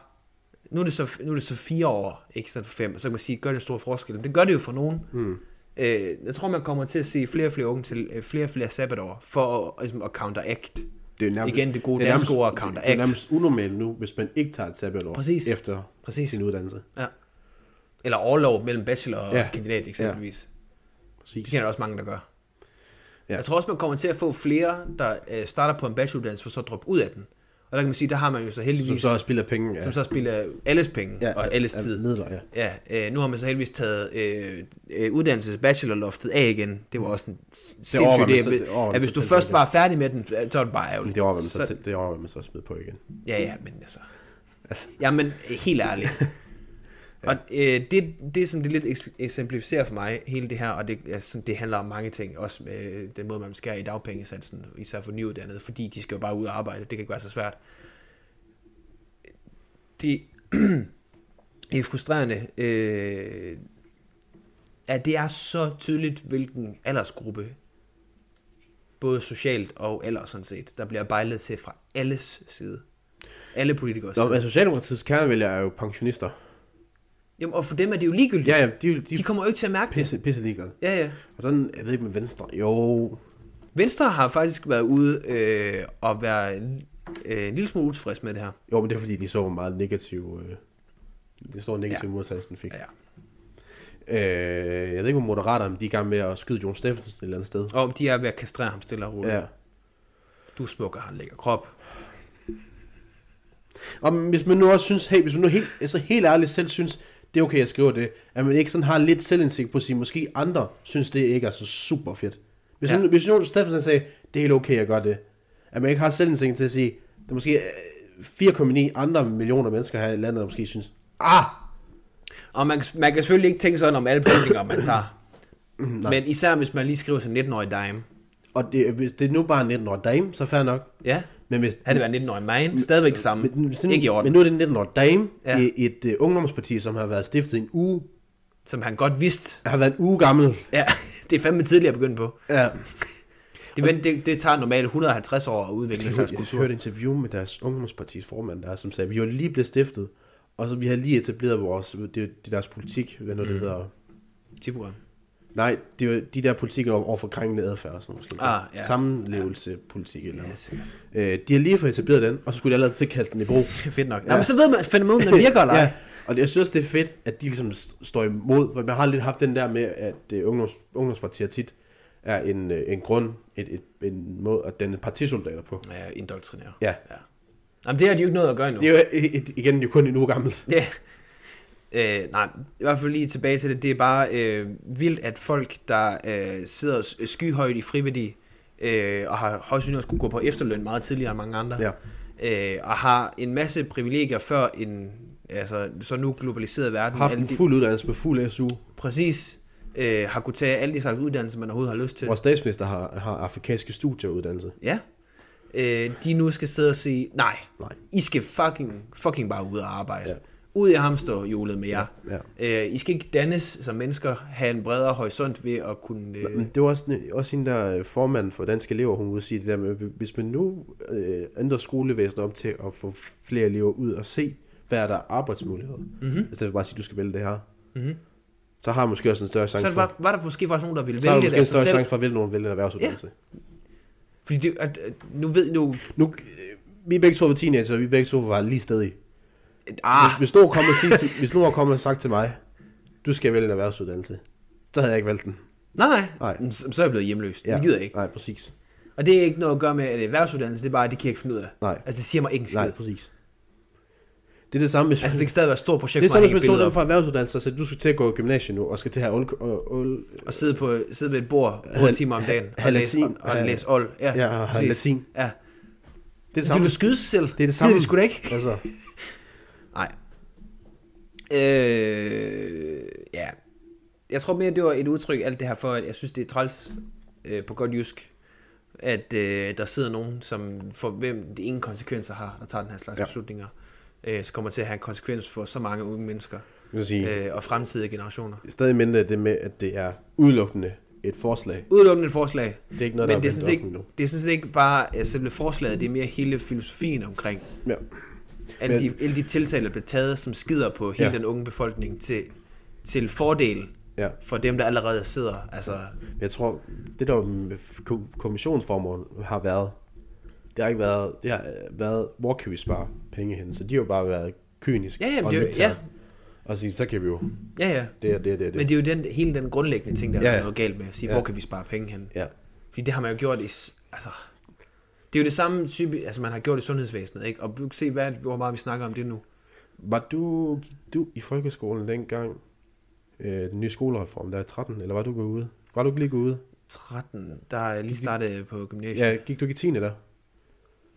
nu er det så, nu er det så fire år, ikke sådan for fem, og så kan man sige, gør det en stor forskel. Men Det gør det jo for nogen. Mm. Øh, jeg tror, man kommer til at se flere og flere unge til øh, flere og flere sabbatår, for at, ligesom, at counteract.
Det er nærmest,
Igen det gode
er
danske
nærmest-
ord, counteract.
Det er nærmest unormalt nu, hvis man ikke tager et sabbatår
Præcis.
efter
Præcis.
sin uddannelse.
Ja. Eller overlov mellem bachelor og ja.
Ja.
kandidat eksempelvis. Ja.
Præcis.
Det kender der også mange, der gør. Ja.
Ja.
Jeg tror også, man kommer til at få flere, der øh, starter på en bacheloruddannelse, for så at droppe ud af den. Og der kan man sige, der har man jo så heldigvis,
Som så også spiller penge. Ja.
som så spiller alles penge ja, og alles
ja,
tid.
Midler, ja.
Ja, øh, nu har man så heldigvis taget øh, øh, uddannelses bachelorloftet af igen. Det var også en sindssyg
overvejer man
idé,
så-
at-
det overvejer man
at hvis
så
du
til,
først
tænker
var færdig med den, så var det bare
Men
ærgerligt.
det overvejer man så,
Så-
til- det overvejer man så at smide på igen.
Ja, ja, men altså.
Altså.
Jamen, helt ærligt. Og øh, det, det, som det lidt eks- eksemplificerer for mig, hele det her, og det, altså, det handler om mange ting, også med øh, den måde, man skærer i dagpengesatsen, især for nyuddannede, fordi de skal jo bare ud og arbejde, det kan ikke være så svært. Det er frustrerende, øh, at det er så tydeligt, hvilken aldersgruppe, både socialt og ellers sådan set, der bliver bejlet til fra alles side. Alle politikere.
Nå, men Socialdemokratiets kernevælger er jo pensionister.
Jamen, og for dem er det jo ligegyldigt.
Ja, ja, de, de, de
De kommer jo ikke til at mærke det.
pisse, pisse ligeglade.
Ja, ja.
Og sådan, jeg ved ikke med Venstre. Jo,
Venstre har faktisk været ude øh, og være en, øh, en lille smule utilfreds med det her.
jo, men det er fordi, de så hvor meget negativ... Øh, det store negative ja. modtagelse, den fik.
Ja.
Øh, jeg ved ikke, hvor Moderaterne de er i gang med at skyde Jon Steffensen et eller andet sted.
Og om de er ved at kastrere ham stille og roligt. Ja.
Ja.
Du smukker, han lægger krop.
Og hvis man nu også synes, hey, hvis man nu helt, altså helt ærligt selv synes, det er okay, jeg skriver det, at man ikke sådan har lidt selvindsigt på at sige, måske andre synes, det ikke er så super fedt. Hvis,
Ja.
ja. nu, hvis Jon Steffensen sagde, det er helt okay, jeg gør det, at man ikke har selvindsigt til at sige, der er måske øh, 4,9 andre millioner mennesker her i landet, der måske synes, ah,
Og man, kan- man kan selvfølgelig ikke tænke sådan om alle politikere, man tager. Men især hvis man lige skriver som 19-årig dime.
og det, øh, hvis det er nu bare en 19 år dame, så fair nok.
Ja,
Men hvis,
havde det været 19-årig man, stadigvæk det samme.
men, hvis det, nu-
Ikke i orden,
men nu er det en 19 år dame
Ja.
ja. i et uh, ungdomsparti, som har været stiftet en uge,
som han godt vidste.
har været en uge gammel.
Ja, det er fandme tidligere begyndt på.
Ja.
Det, vent- det, det tager normalt 150 år at udvikle en
Jeg,
slags
jeg, jeg
kultur.
hørte et interview med deres ungdomspartis formand, der som sagde, vi var lige blevet stiftet, og så vi havde lige etableret vores, det, det er deres politik, hvad noget mm. det hedder.
Tipprogram.
Nej, det var de der politikker over for krænkende adfærd og sådan noget. Måske.
Ah, ja.
Sammenlevelsepolitik eller
Ja,
noget.
sikkert.
Øh, de har lige fået etableret den, og så skulle de allerede til at kaste den i brug.
Det er fedt nok. Ja. Nå, men så ved man, at fænomenet virker eller ej.
ja, og det- jeg synes, det er fedt, at de ligesom st- står imod, for man har lidt haft den der med, at øh, ungdoms, ungdomspartier tit er en, øh, en grund, et, et, en måde at danne partisoldater på.
ja. indoktrinere.
Ja,
Ja. Jamen, det har de jo ikke noget at gøre endnu.
det er jo øh, et, igen det er jo kun en uge gammelt.
Ja. Øh, nej, i hvert fald lige tilbage til det. Det er bare øh, vildt, at folk, der øh, sidder s- skyhøjt i friværdi, øh, og har højst sandsynligt skulle gå på efterløn meget tidligere end mange andre,
Ja.
øh, og har en masse privilegier før en altså, så nu globaliseret verden.
haft
alle
en
de,
fuld uddannelse på fuld SU.
præcis. Øh, har kunne tage alle de slags uddannelser, man overhovedet har lyst til.
Vores statsminister har, har afrikanske studieuddannelse.
Ja. Øh, de nu skal sidde og sige, nej,
Nej.
I skal fucking, fucking bare ud og arbejde. Ja.
Ja.
Ud i hamsterhjulet med jer.
Ja,
Øh, I skal ikke dannes som mennesker, have en bredere horisont ved at kunne... Øh,
Men det var også, en- også en der øh, formand for Danske Elever, hun ude sige det der med, hvis man nu øh, ændrer skolevæsenet op til at få flere elever ud og se, hvad er der af arbejdsmuligheder,
Mhm.
mm-hmm. i stedet for bare at sige, du skal vælge det her, mm-hmm. så har man måske også en større
så
chance
er det
for,
bare, var der måske faktisk nogen, der ville
så har man
vælge det
måske
af
en
sig
større
selv.
chance for at vælge nogen vælge en erhvervsuddannelse. Ja.
Fordi det, at, at, nu ved nu...
Nu, øh, vi er begge to var teenager, og vi begge to var lige stadig.
Ah,
Hvis, hvis nogen kom og sige, til- hvis nogen kom og sagt til mig, du skal vælge en erhvervsuddannelse, så havde jeg ikke valgt den.
Nej, nej.
Nej.
Men Så så er jeg blevet hjemløs. Ja. Det gider jeg ikke.
Nej, præcis.
Og det er ikke noget at gøre med, at det er erhvervsuddannelse, det er bare, at det kan jeg ikke finde ud af.
Nej.
Altså, det siger mig ikke en skid.
Nej, præcis. Det er det samme, hvis...
Altså, det kan stadig være et stort projekt
det er
for
sådan,
mig at hænge
hvis man tog
billeder
dem
op
fra erhvervsuddannelser, så du skal til at gå i gymnasiet nu, og skal til at have old, old,
og sidde, på, sidde ved et bord 8
Hal-
timer om dagen og
hal-
læse, og,
latin.
og
Ja.
læse old. Ja,
Ja, og
præcis.
latin.
Ja.
Det er det
De
samme.
vil skyde sig selv.
Det er det samme.
Det er sgu da ikke.
Altså,
Nej. Øh, ja. Jeg tror mere, det var et udtryk, alt det her for, at jeg synes, det er træls øh, på godt jysk, at øh, der sidder nogen, som for hvem det ingen konsekvenser har, der tager den her slags ja.
Ja.
beslutninger, øh, så kommer til at have en konsekvens for så mange unge mennesker
jeg vil sige,
øh, og fremtidige generationer.
stadig mindre af det med, at det er udelukkende et forslag.
Udelukkende et forslag.
Det er ikke noget,
Men
der
det er, sådan set
blevet
ikke,
offentligt nu.
det er sådan set ikke bare øh, selve forslaget, det er mere hele filosofien omkring
Ja.
alle,
Men-
de, alle de tiltag, der bliver taget, som skider på hele ja.
Ja.
den unge befolkning til, til fordel
Ja.
for dem, der allerede sidder. Altså,
Men jeg tror, det der med kom- kommissionsformålet har været, det har ikke været, det har øh, været, hvor kan vi spare penge hen? Så de har jo bare været kyniske
Ja, ja, men
og
det er jo-
nøgterne.
ja.
Og sige, så kan vi jo,
ja, ja.
det er det, er- det er det.
Men det er jo den, hele den grundlæggende ting, der
Ja,
ja, er
ja.
noget galt med. At sige, ja.
Ja.
hvor kan vi spare penge hen?
Ja,
Fordi det har man jo gjort i... s- Altså, det er jo det samme type, altså man har gjort i sundhedsvæsenet, ikke? Og du kan se, hvad, hvor meget vi snakker om det nu.
Var du, gik du i folkeskolen dengang, øh, den nye skolereform, der er 13, eller var du gået ude? Var du ikke lige gået ude?
13, der er jeg lige startet på gymnasiet.
Ja, gik du ikke i 10. der?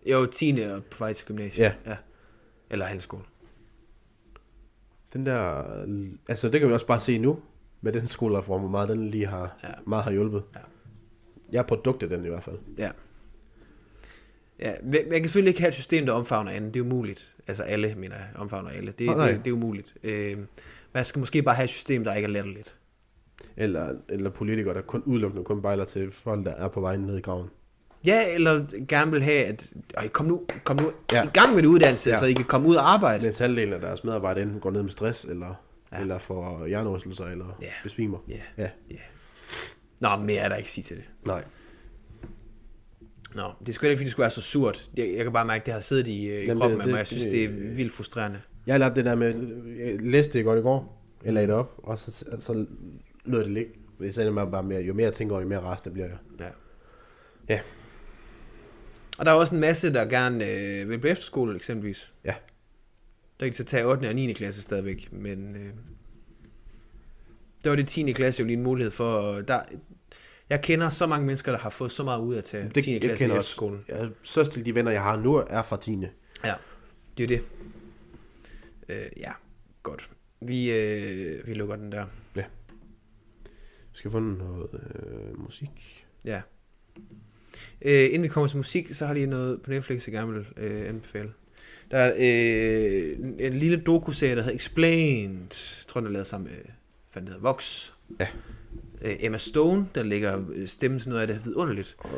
Jo, 10. og på vej til gymnasiet.
Ja.
ja. Eller handelsskole.
Den der, øh, altså det kan vi også bare se nu, med den skolereform, hvor meget den lige har,
Ja.
ja. meget har hjulpet.
Ja.
Jeg er produkt af den i hvert fald.
Ja. Ja, men jeg kan selvfølgelig ikke have et system, der omfavner alle. Det er umuligt. Altså alle, mener jeg, omfavner alle. Det,
Nej,
oh,
nej.
det, det er umuligt. Øh, man skal måske bare have et system, der ikke er latterligt.
Eller, eller politikere, der kun udelukkende kun bejler til folk, der er på vej ned i graven.
Ja, eller gerne vil have, at øj, kom nu, kom nu ja.
Ja.
i gang med det uddannelse, ja.
Ja.
så I kan komme ud og arbejde.
Mens halvdelen af deres medarbejdere enten går ned med stress, eller,
Ja.
ja. eller får hjernerystelser, eller
Ja.
ja. besvimer.
Ja.
Ja.
Nå, mere er der ikke at sige til det.
Nej.
Nå, det er sgu heller ikke, fordi det skulle være så surt. Jeg, jeg kan bare mærke, at det har siddet i, øh, i
Jamen,
kroppen
det-
af mig. Jeg
det-
synes,
det-
det er vildt frustrerende.
Jeg lærte det der med, jeg læste det godt i går, jeg lagde det op, og så, så lød det ligge. Men så ender man bare med, jo mere jeg tænker over, jo mere resten bliver jeg.
Ja.
Ja.
Og der er også en masse, der gerne øh, vil på efterskole, eksempelvis.
Ja.
Der kan de så tage 8. og 9. klasse stadigvæk, men øh, der var det 10. klasse jo lige en mulighed for. og Der, jeg kender så mange mennesker, der har fået så meget ud af at tage det, 10. klasse i efterskolen.
Jeg, største de venner, jeg har nu, er fra 10.
Ja, det er jo det. Øh, ja, godt. Vi, øh, vi lukker den der.
Vi skal få noget øh, musik.
Ja. Øh, inden vi kommer til musik, så har jeg lige noget på Netflix, jeg gerne vil øh, anbefale. Der er øh, en- en lille dokuserie, der hedder Explained. Jeg tror, den er lavet sammen med, hvad den hedder, Vox.
Ja.
Øh, Emma Stone, der lægger øh, stemmen til noget af det vidunderligt.
Og,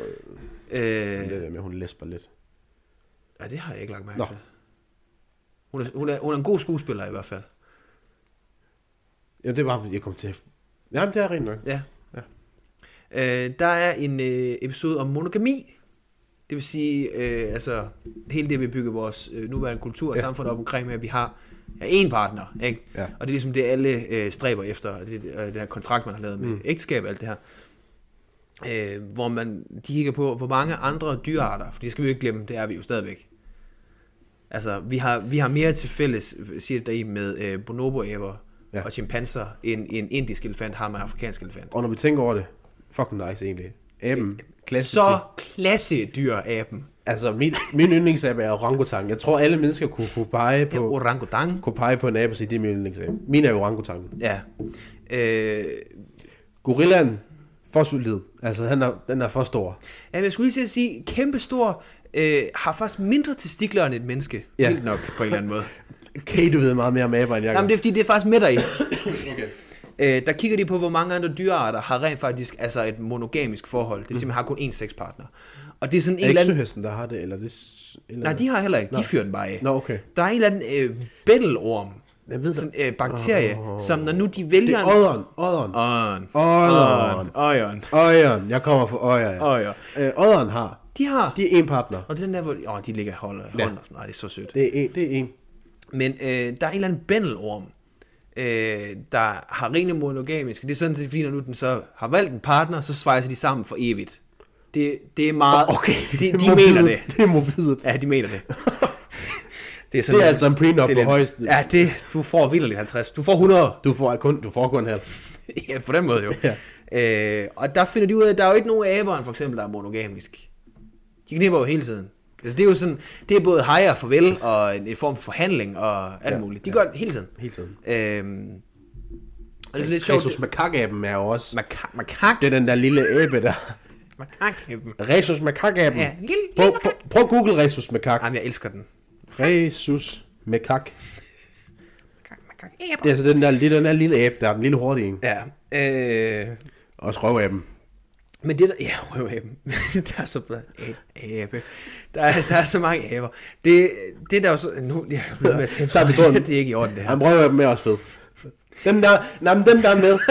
Øh,
det der med, hun læsper lidt.
Ja, det har jeg ikke lagt mærke
Nå.
til. Hun er, hun, er, hun er en god skuespiller i hvert fald.
Jamen, det var, fordi jeg kom til at... Jamen, det er rent nok.
Ja.
Ja.
Øh, der er en øh, episode om monogami. Det vil sige, øh, altså hele det, vi bygger vores øh, nuværende kultur og ja.
Ja.
samfund op omkring med, at vi har ja, én partner, ikke?
Ja.
Og det er ligesom det, alle øh, stræber efter, og det, øh, den her kontrakt, man har lavet med mm.
Mm.
ægteskab og alt det her. Øh, hvor man, de kigger på, hvor mange andre dyrearter, for det skal vi jo ikke glemme, det er vi jo stadigvæk. Altså, vi har, vi har mere til fælles, siger det der i, med øh, bonoboæber ja.
Ja.
og chimpanser, end en indisk elefant har med en afrikansk elefant.
Og når vi tænker over det, fucking nice egentlig. Aben, klassisk.
Så klasse dyr aben.
Altså, min, min yndlingsab er orangutang. Jeg tror, alle mennesker kunne, kunne pege
Ja,
på,
orangutang.
kunne pege på en abe og sige, det er min yndlingsab. Min er orangutangen.
Ja. Øh,
Gorillaen, for solid. Altså, han er, den er for stor.
jamen, jeg skulle lige til at sige, kæmpestor øh, har faktisk mindre testikler end et menneske. Ja.
Ja.
Vildt nok, på en eller anden måde.
Okay, du ved meget mere om aber, end jeg
Jamen,
gør.
det er fordi, det er faktisk med dig i.
Okay.
Øh, der kigger de på, hvor mange andre dyrearter har rent faktisk altså et monogamisk forhold. Det vil sige, man har kun én sexpartner. Og det er sådan en eller
Mm. Er det ikke
anden...
søhesten, der har det? Eller det s- eller
Nej, de har heller ikke. De fyrer den bare af.
Nå, okay.
Der er en eller anden øh, bættelorm,
Jeg ved
sådan
det.
øh, bakterie, oh.
Åh.
som når nu de
Det
vælger...
er odderen. Odderen.
Åren.
Odderen.
Åren.
Odderen. Jeg kommer fra Odder. ja.
Åren.
Øh, Odderen har.
De har...
De er en partner.
Og det er den der, hvor... Åh, oh, de ligger i hold, ja.
Ja.
hånden. og sådan. Nej, det er så sødt.
Det er en. Det er en.
Men øh, der er en eller anden bændelorm, øh, der har rene monogamiske. Det er sådan set, fordi når nu den så har valgt en partner, så svejser de sammen for evigt. Det, det er meget... de, de mener det.
Det er morbidt.
Ja, de mener det. det er,
Det er altså en prenup
det er
på
lidt-
højeste.
Ja, det, du får vildt 50. Du får 100.
Du får kun, du får kun halv.
ja, på den måde jo.
Ja.
Øh, og der finder de ud af, at der er jo ikke nogen aberen, for eksempel, der er monogamisk. De knipper jo hele tiden. Altså, det er jo sådan, det er både hej og farvel, og en, en form for forhandling og alt
Ja,
ja, muligt. De ja. gør det hele tiden.
Hele tiden.
Øhm, og det er lidt sjovt.
Resus makakaben er jo også...
Makak. Makak.
Det er den der lille æbe der.
Makak.
Resus makakaben.
Ja, lille,
Prøv,
lille
prøv, prøv at google Resus makak.
Jamen, jeg elsker den.
Resus makak.
Makak, makak, æber.
Det er altså den der, lille- den der lille æbe der, den lille hurtige en.
Ja. Øh,
Og skrøvæben.
Men det der... Ja, røvaben. der er så blandt... Abe. Der er, der er så mange aber. Det, det der jo så... Nu jeg er med at tænke
Så er vi drømme.
Det er ikke i orden, det her.
Han prøver med også fed. Dem der, nej, men dem der er med.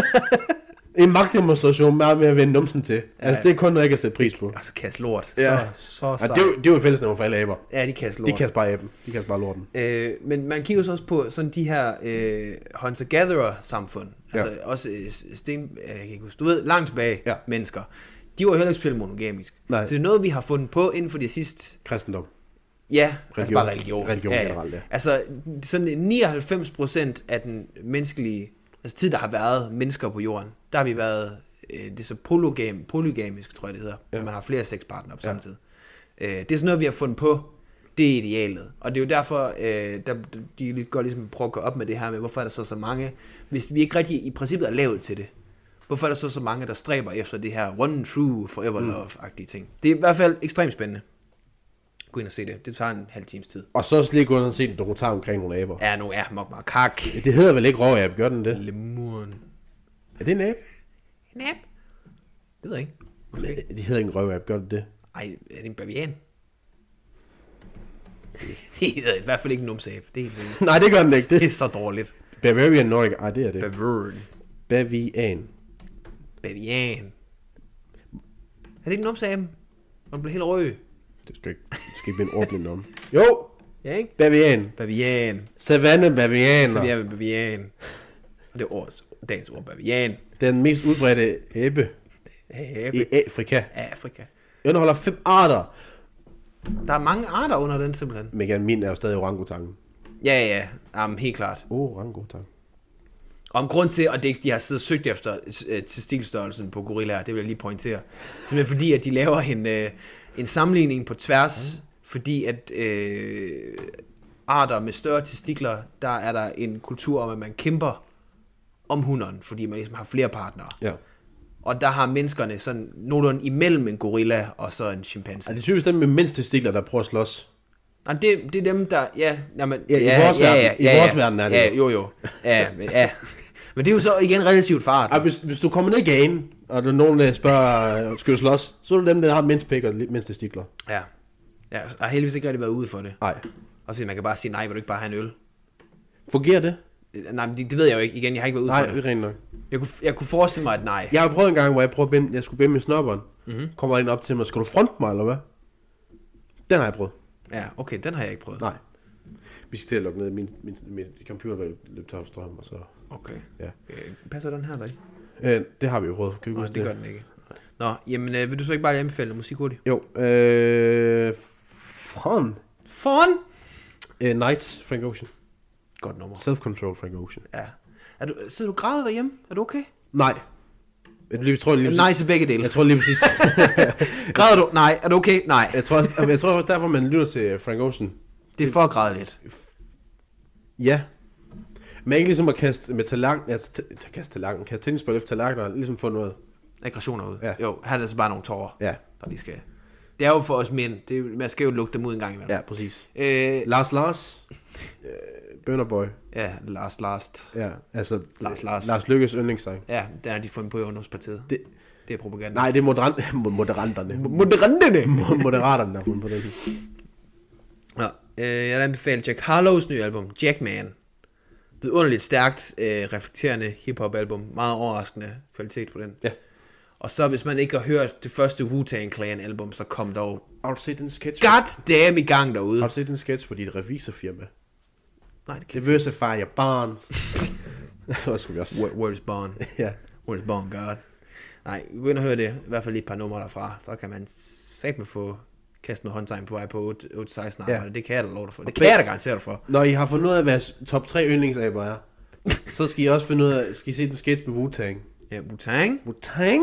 En magtdemonstration meget med at vende numsen til. Altså, det er kun noget, jeg kan sætte pris på.
Og så kaste lort.
Ja.
Så, så
Og
sejt.
det, er jo- det er jo fællesnævn for alle aber.
Ja, de kaster lort.
De kaster bare æben. De kaster bare lorten.
Øh, men man kigger så også på sådan de her øh, hunter-gatherer-samfund. Altså også øh, sten... Øh, jeg kan ikke huske, du ved, langt tilbage
Ja.
mennesker. De var jo heller ikke spillet monogamisk.
Nej.
Så det er noget, vi har fundet på inden for de sidste
Kristendom.
Ja, religion. altså
Religion.
bare religion.
Religion
ja, ja.
generelt, ja.
Altså sådan 99 procent af den menneskelige, altså tid, der har været mennesker på jorden, der har vi været, øh, det er så polygam, polygamisk, tror jeg det hedder, ja. man har flere sexpartnere på samme tid. Øh, det er sådan noget, vi har fundet på, det er idealet. Og det er jo derfor, øh, der, de går ligesom prøver at gå op med det her med, hvorfor er der så så mange, hvis vi ikke rigtig i princippet er lavet til det. Hvorfor er der så så mange, der stræber efter det her one true forever love-agtige ting? Det er i hvert fald ekstremt spændende. Gå ind og se det. Det tager en halv times tid.
Og så også lige gå ind og se en dokumentar omkring nogle aber.
Ja, nu er mok mok kak.
Det hedder vel ikke råab, gør den det?
Lemuren.
Er det en abe?
En app? Det ved jeg ikke. Måske. ikke.
Det hedder ikke en røvab, gør det det?
Ej, er det en bavian? det hedder i hvert fald ikke en numseab. Det er, helt vildt.
Nej, det gør den ikke. Det.
det er så dårligt.
Bavarian Nordic, ej, det er det.
Bavarian.
Bavian.
Bavian. Er det ikke en numseab? Man bliver helt rød.
Det skal ikke, det skal ikke blive en ordblind om. Jo,
Ja, ikke?
bavian.
Bavian.
Savanne bavianer.
Så vi er med bavian. Og det er årets, dagens ord, bavian.
Den mest udbredte æbe
Æb.
i Afrika.
Afrika.
Indeholder fem arter.
Der er mange arter under den simpelthen.
Men igen, min er jo stadig orangutangen.
Ja, ja. Jamen, helt klart.
Oh, orangutang.
Om grund til, at det ikke- de har siddet og søgt efter øh, testilstørrelsen på gorillaer, det vil jeg lige pointere. Simpelthen fordi, at de laver en, øh, en sammenligning på
Mm.
tværs, fordi at øh, arter med større testikler, der er der en kultur om, at man kæmper om hunden, fordi man ligesom har flere partnere.
Ja.
Og der har menneskerne sådan nogenlunde imellem en gorilla og så en
Er
chimpanse.
det er typisk dem med mindst testikler, der prøver at slås?
Nej, det, det er dem, der... Ja, jamen,
Ja, i vores verden- i vores verden er det
Ja,
jo.
jo, jo. Ja, men, ja. Men det er jo så igen relativt fart.
Ej, hvis, hvis du kommer ned i gagen, og der er nogen, der spørger, øh, skal du slås? Så er det dem, der har mindst pik og li- mindst testikler.
Ja. ja og har heldigvis ikke rigtig været ude for det.
Nej.
Og fordi man kan bare sige, nej, vil du ikke bare have en øl?
Fungerer det?
Øh, Nej, men det, det ved jeg jo ikke. Igen, jeg har ikke været ude
Nej,
for
det
det.
er rent nok.
Jeg kunne, jeg kunne forestille mig, at nej.
Jeg har prøvet en gang, hvor jeg, prøvede at vinde, jeg skulle vinde med snobberen. Mm-hmm. Kommer en op til mig, skal du fronte mig, eller hvad? Den har jeg prøvet.
Ja, okay, den har jeg ikke prøvet.
Nej. Vi skal til at lukke ned min, min, min computer, der løb tør for strøm, og så...
Okay.
Ja.
Øh, passer den her der ikke?
Øh, det har vi jo prøvet, kan vi
Nej,
huske
det gør den ikke. Nå, jamen øh, vil du så ikke bare lige anbefale noget musik hurtigt?
Jo, øh... Fun.
Foran!
Øh, Nights, Frank Ocean.
Godt nummer.
Self-control, Frank Ocean.
Ja. Er du, sidder du og græder derhjemme? Er du okay?
Nej. Jeg lige- tror lige,
Nej til begge dele.
Jeg tror lige præcis...
Græder du? Nej. Er du okay? Nej.
Jeg tror, også, jeg tror også derfor, man lytter til øh, Frank Ocean.
Det er for at græde lidt.
Ja. Men ikke ligesom at kaste med tallerken, altså t- t- kaste tallerken, kaste tennisbold efter tallerken og ligesom få noget.
Aggressioner ud.
Ja.
Jo, her er det så bare nogle tårer,
Ja,
der lige skal... Det er jo for os mænd. Det er, jo- man skal jo lukke dem ud en gang imellem.
ja, præcis.
Øh,
Lars Lars, øh, Bønderboy,
ja, Last Last.
ja, altså
Lars Lars.
Lars Lykkes yndlingssang.
Ja, den har de fundet på i Ungdomspartiet.
Det-
det er propaganda.
Nej, det er moderant, moderanterne.
Moderanterne!
Mo- Moderaterne, der har fundet på det.
Nå, øh, jeg vil anbefale Jack Harlows nye album, Jackman. Vidunderligt stærkt, øh, reflekterende hiphop-album. Meget overraskende kvalitet på den.
Ja.
Og så hvis man ikke har hørt det første Wu-Tang Clan-album, så kom dog
Har du set den sketch?
god damn i gang derude.
Har du set den sketch på dit revisorfirma?
Nej, det kan
Det vil jeg barns. Hvor skulle vi også.
Where, where is Bond?
Ja.
Where is Bond, God? Nej, gå ind og hør det. I hvert fald lige et par numre derfra. Så kan man satme få kastet noget håndtegn på vej på 8-16 arbejde.
Ja.
Det kan jeg da love dig for. Det
Og
kan jeg da garantere dig for.
Når I har fundet ud af, hvad jeres top 3 yndlingsaber er, så skal I også finde ud af, skal I se den sketch med Wu-Tang.
Ja, Wu-Tang.
Wu-Tang?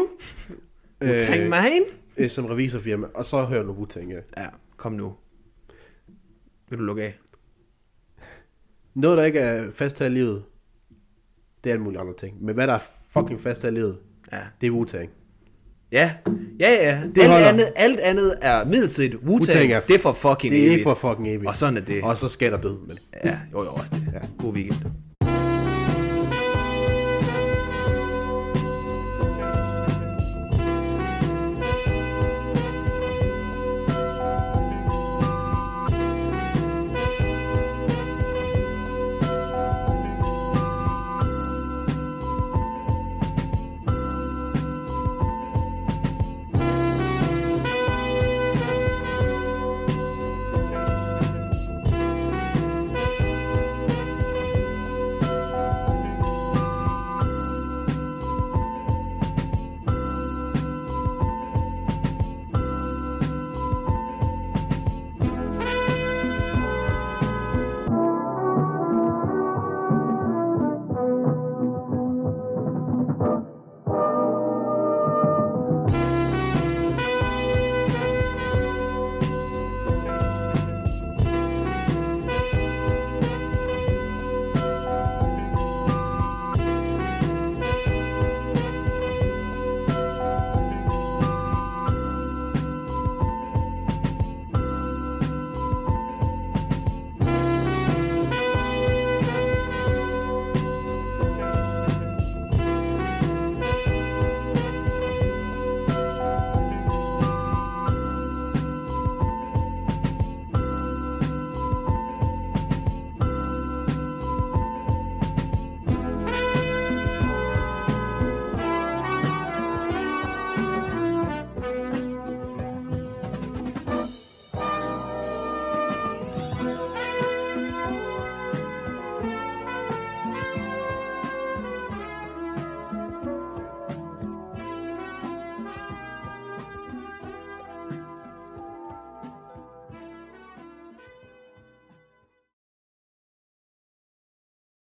Wu-Tang, man.
øh, som revisorfirma, og så hører nu Wu-Tang af.
Ja, kom nu. Vil du lukke af?
Noget, der ikke er fast her i livet, det er alle mulige andre ting. Men hvad der er fucking fast her i livet,
Ja.
det er Wu-Tang.
Ja, ja, ja.
Det
alt,
holder.
andet, alt andet er midlertidigt. Wu-Tang,
Wu-Tang er-
det er for fucking
Det er
evigt.
for fucking evigt.
Og sådan er det.
Og så skal der død, men
Ja, jo, jo, også det.
Ja.
God weekend.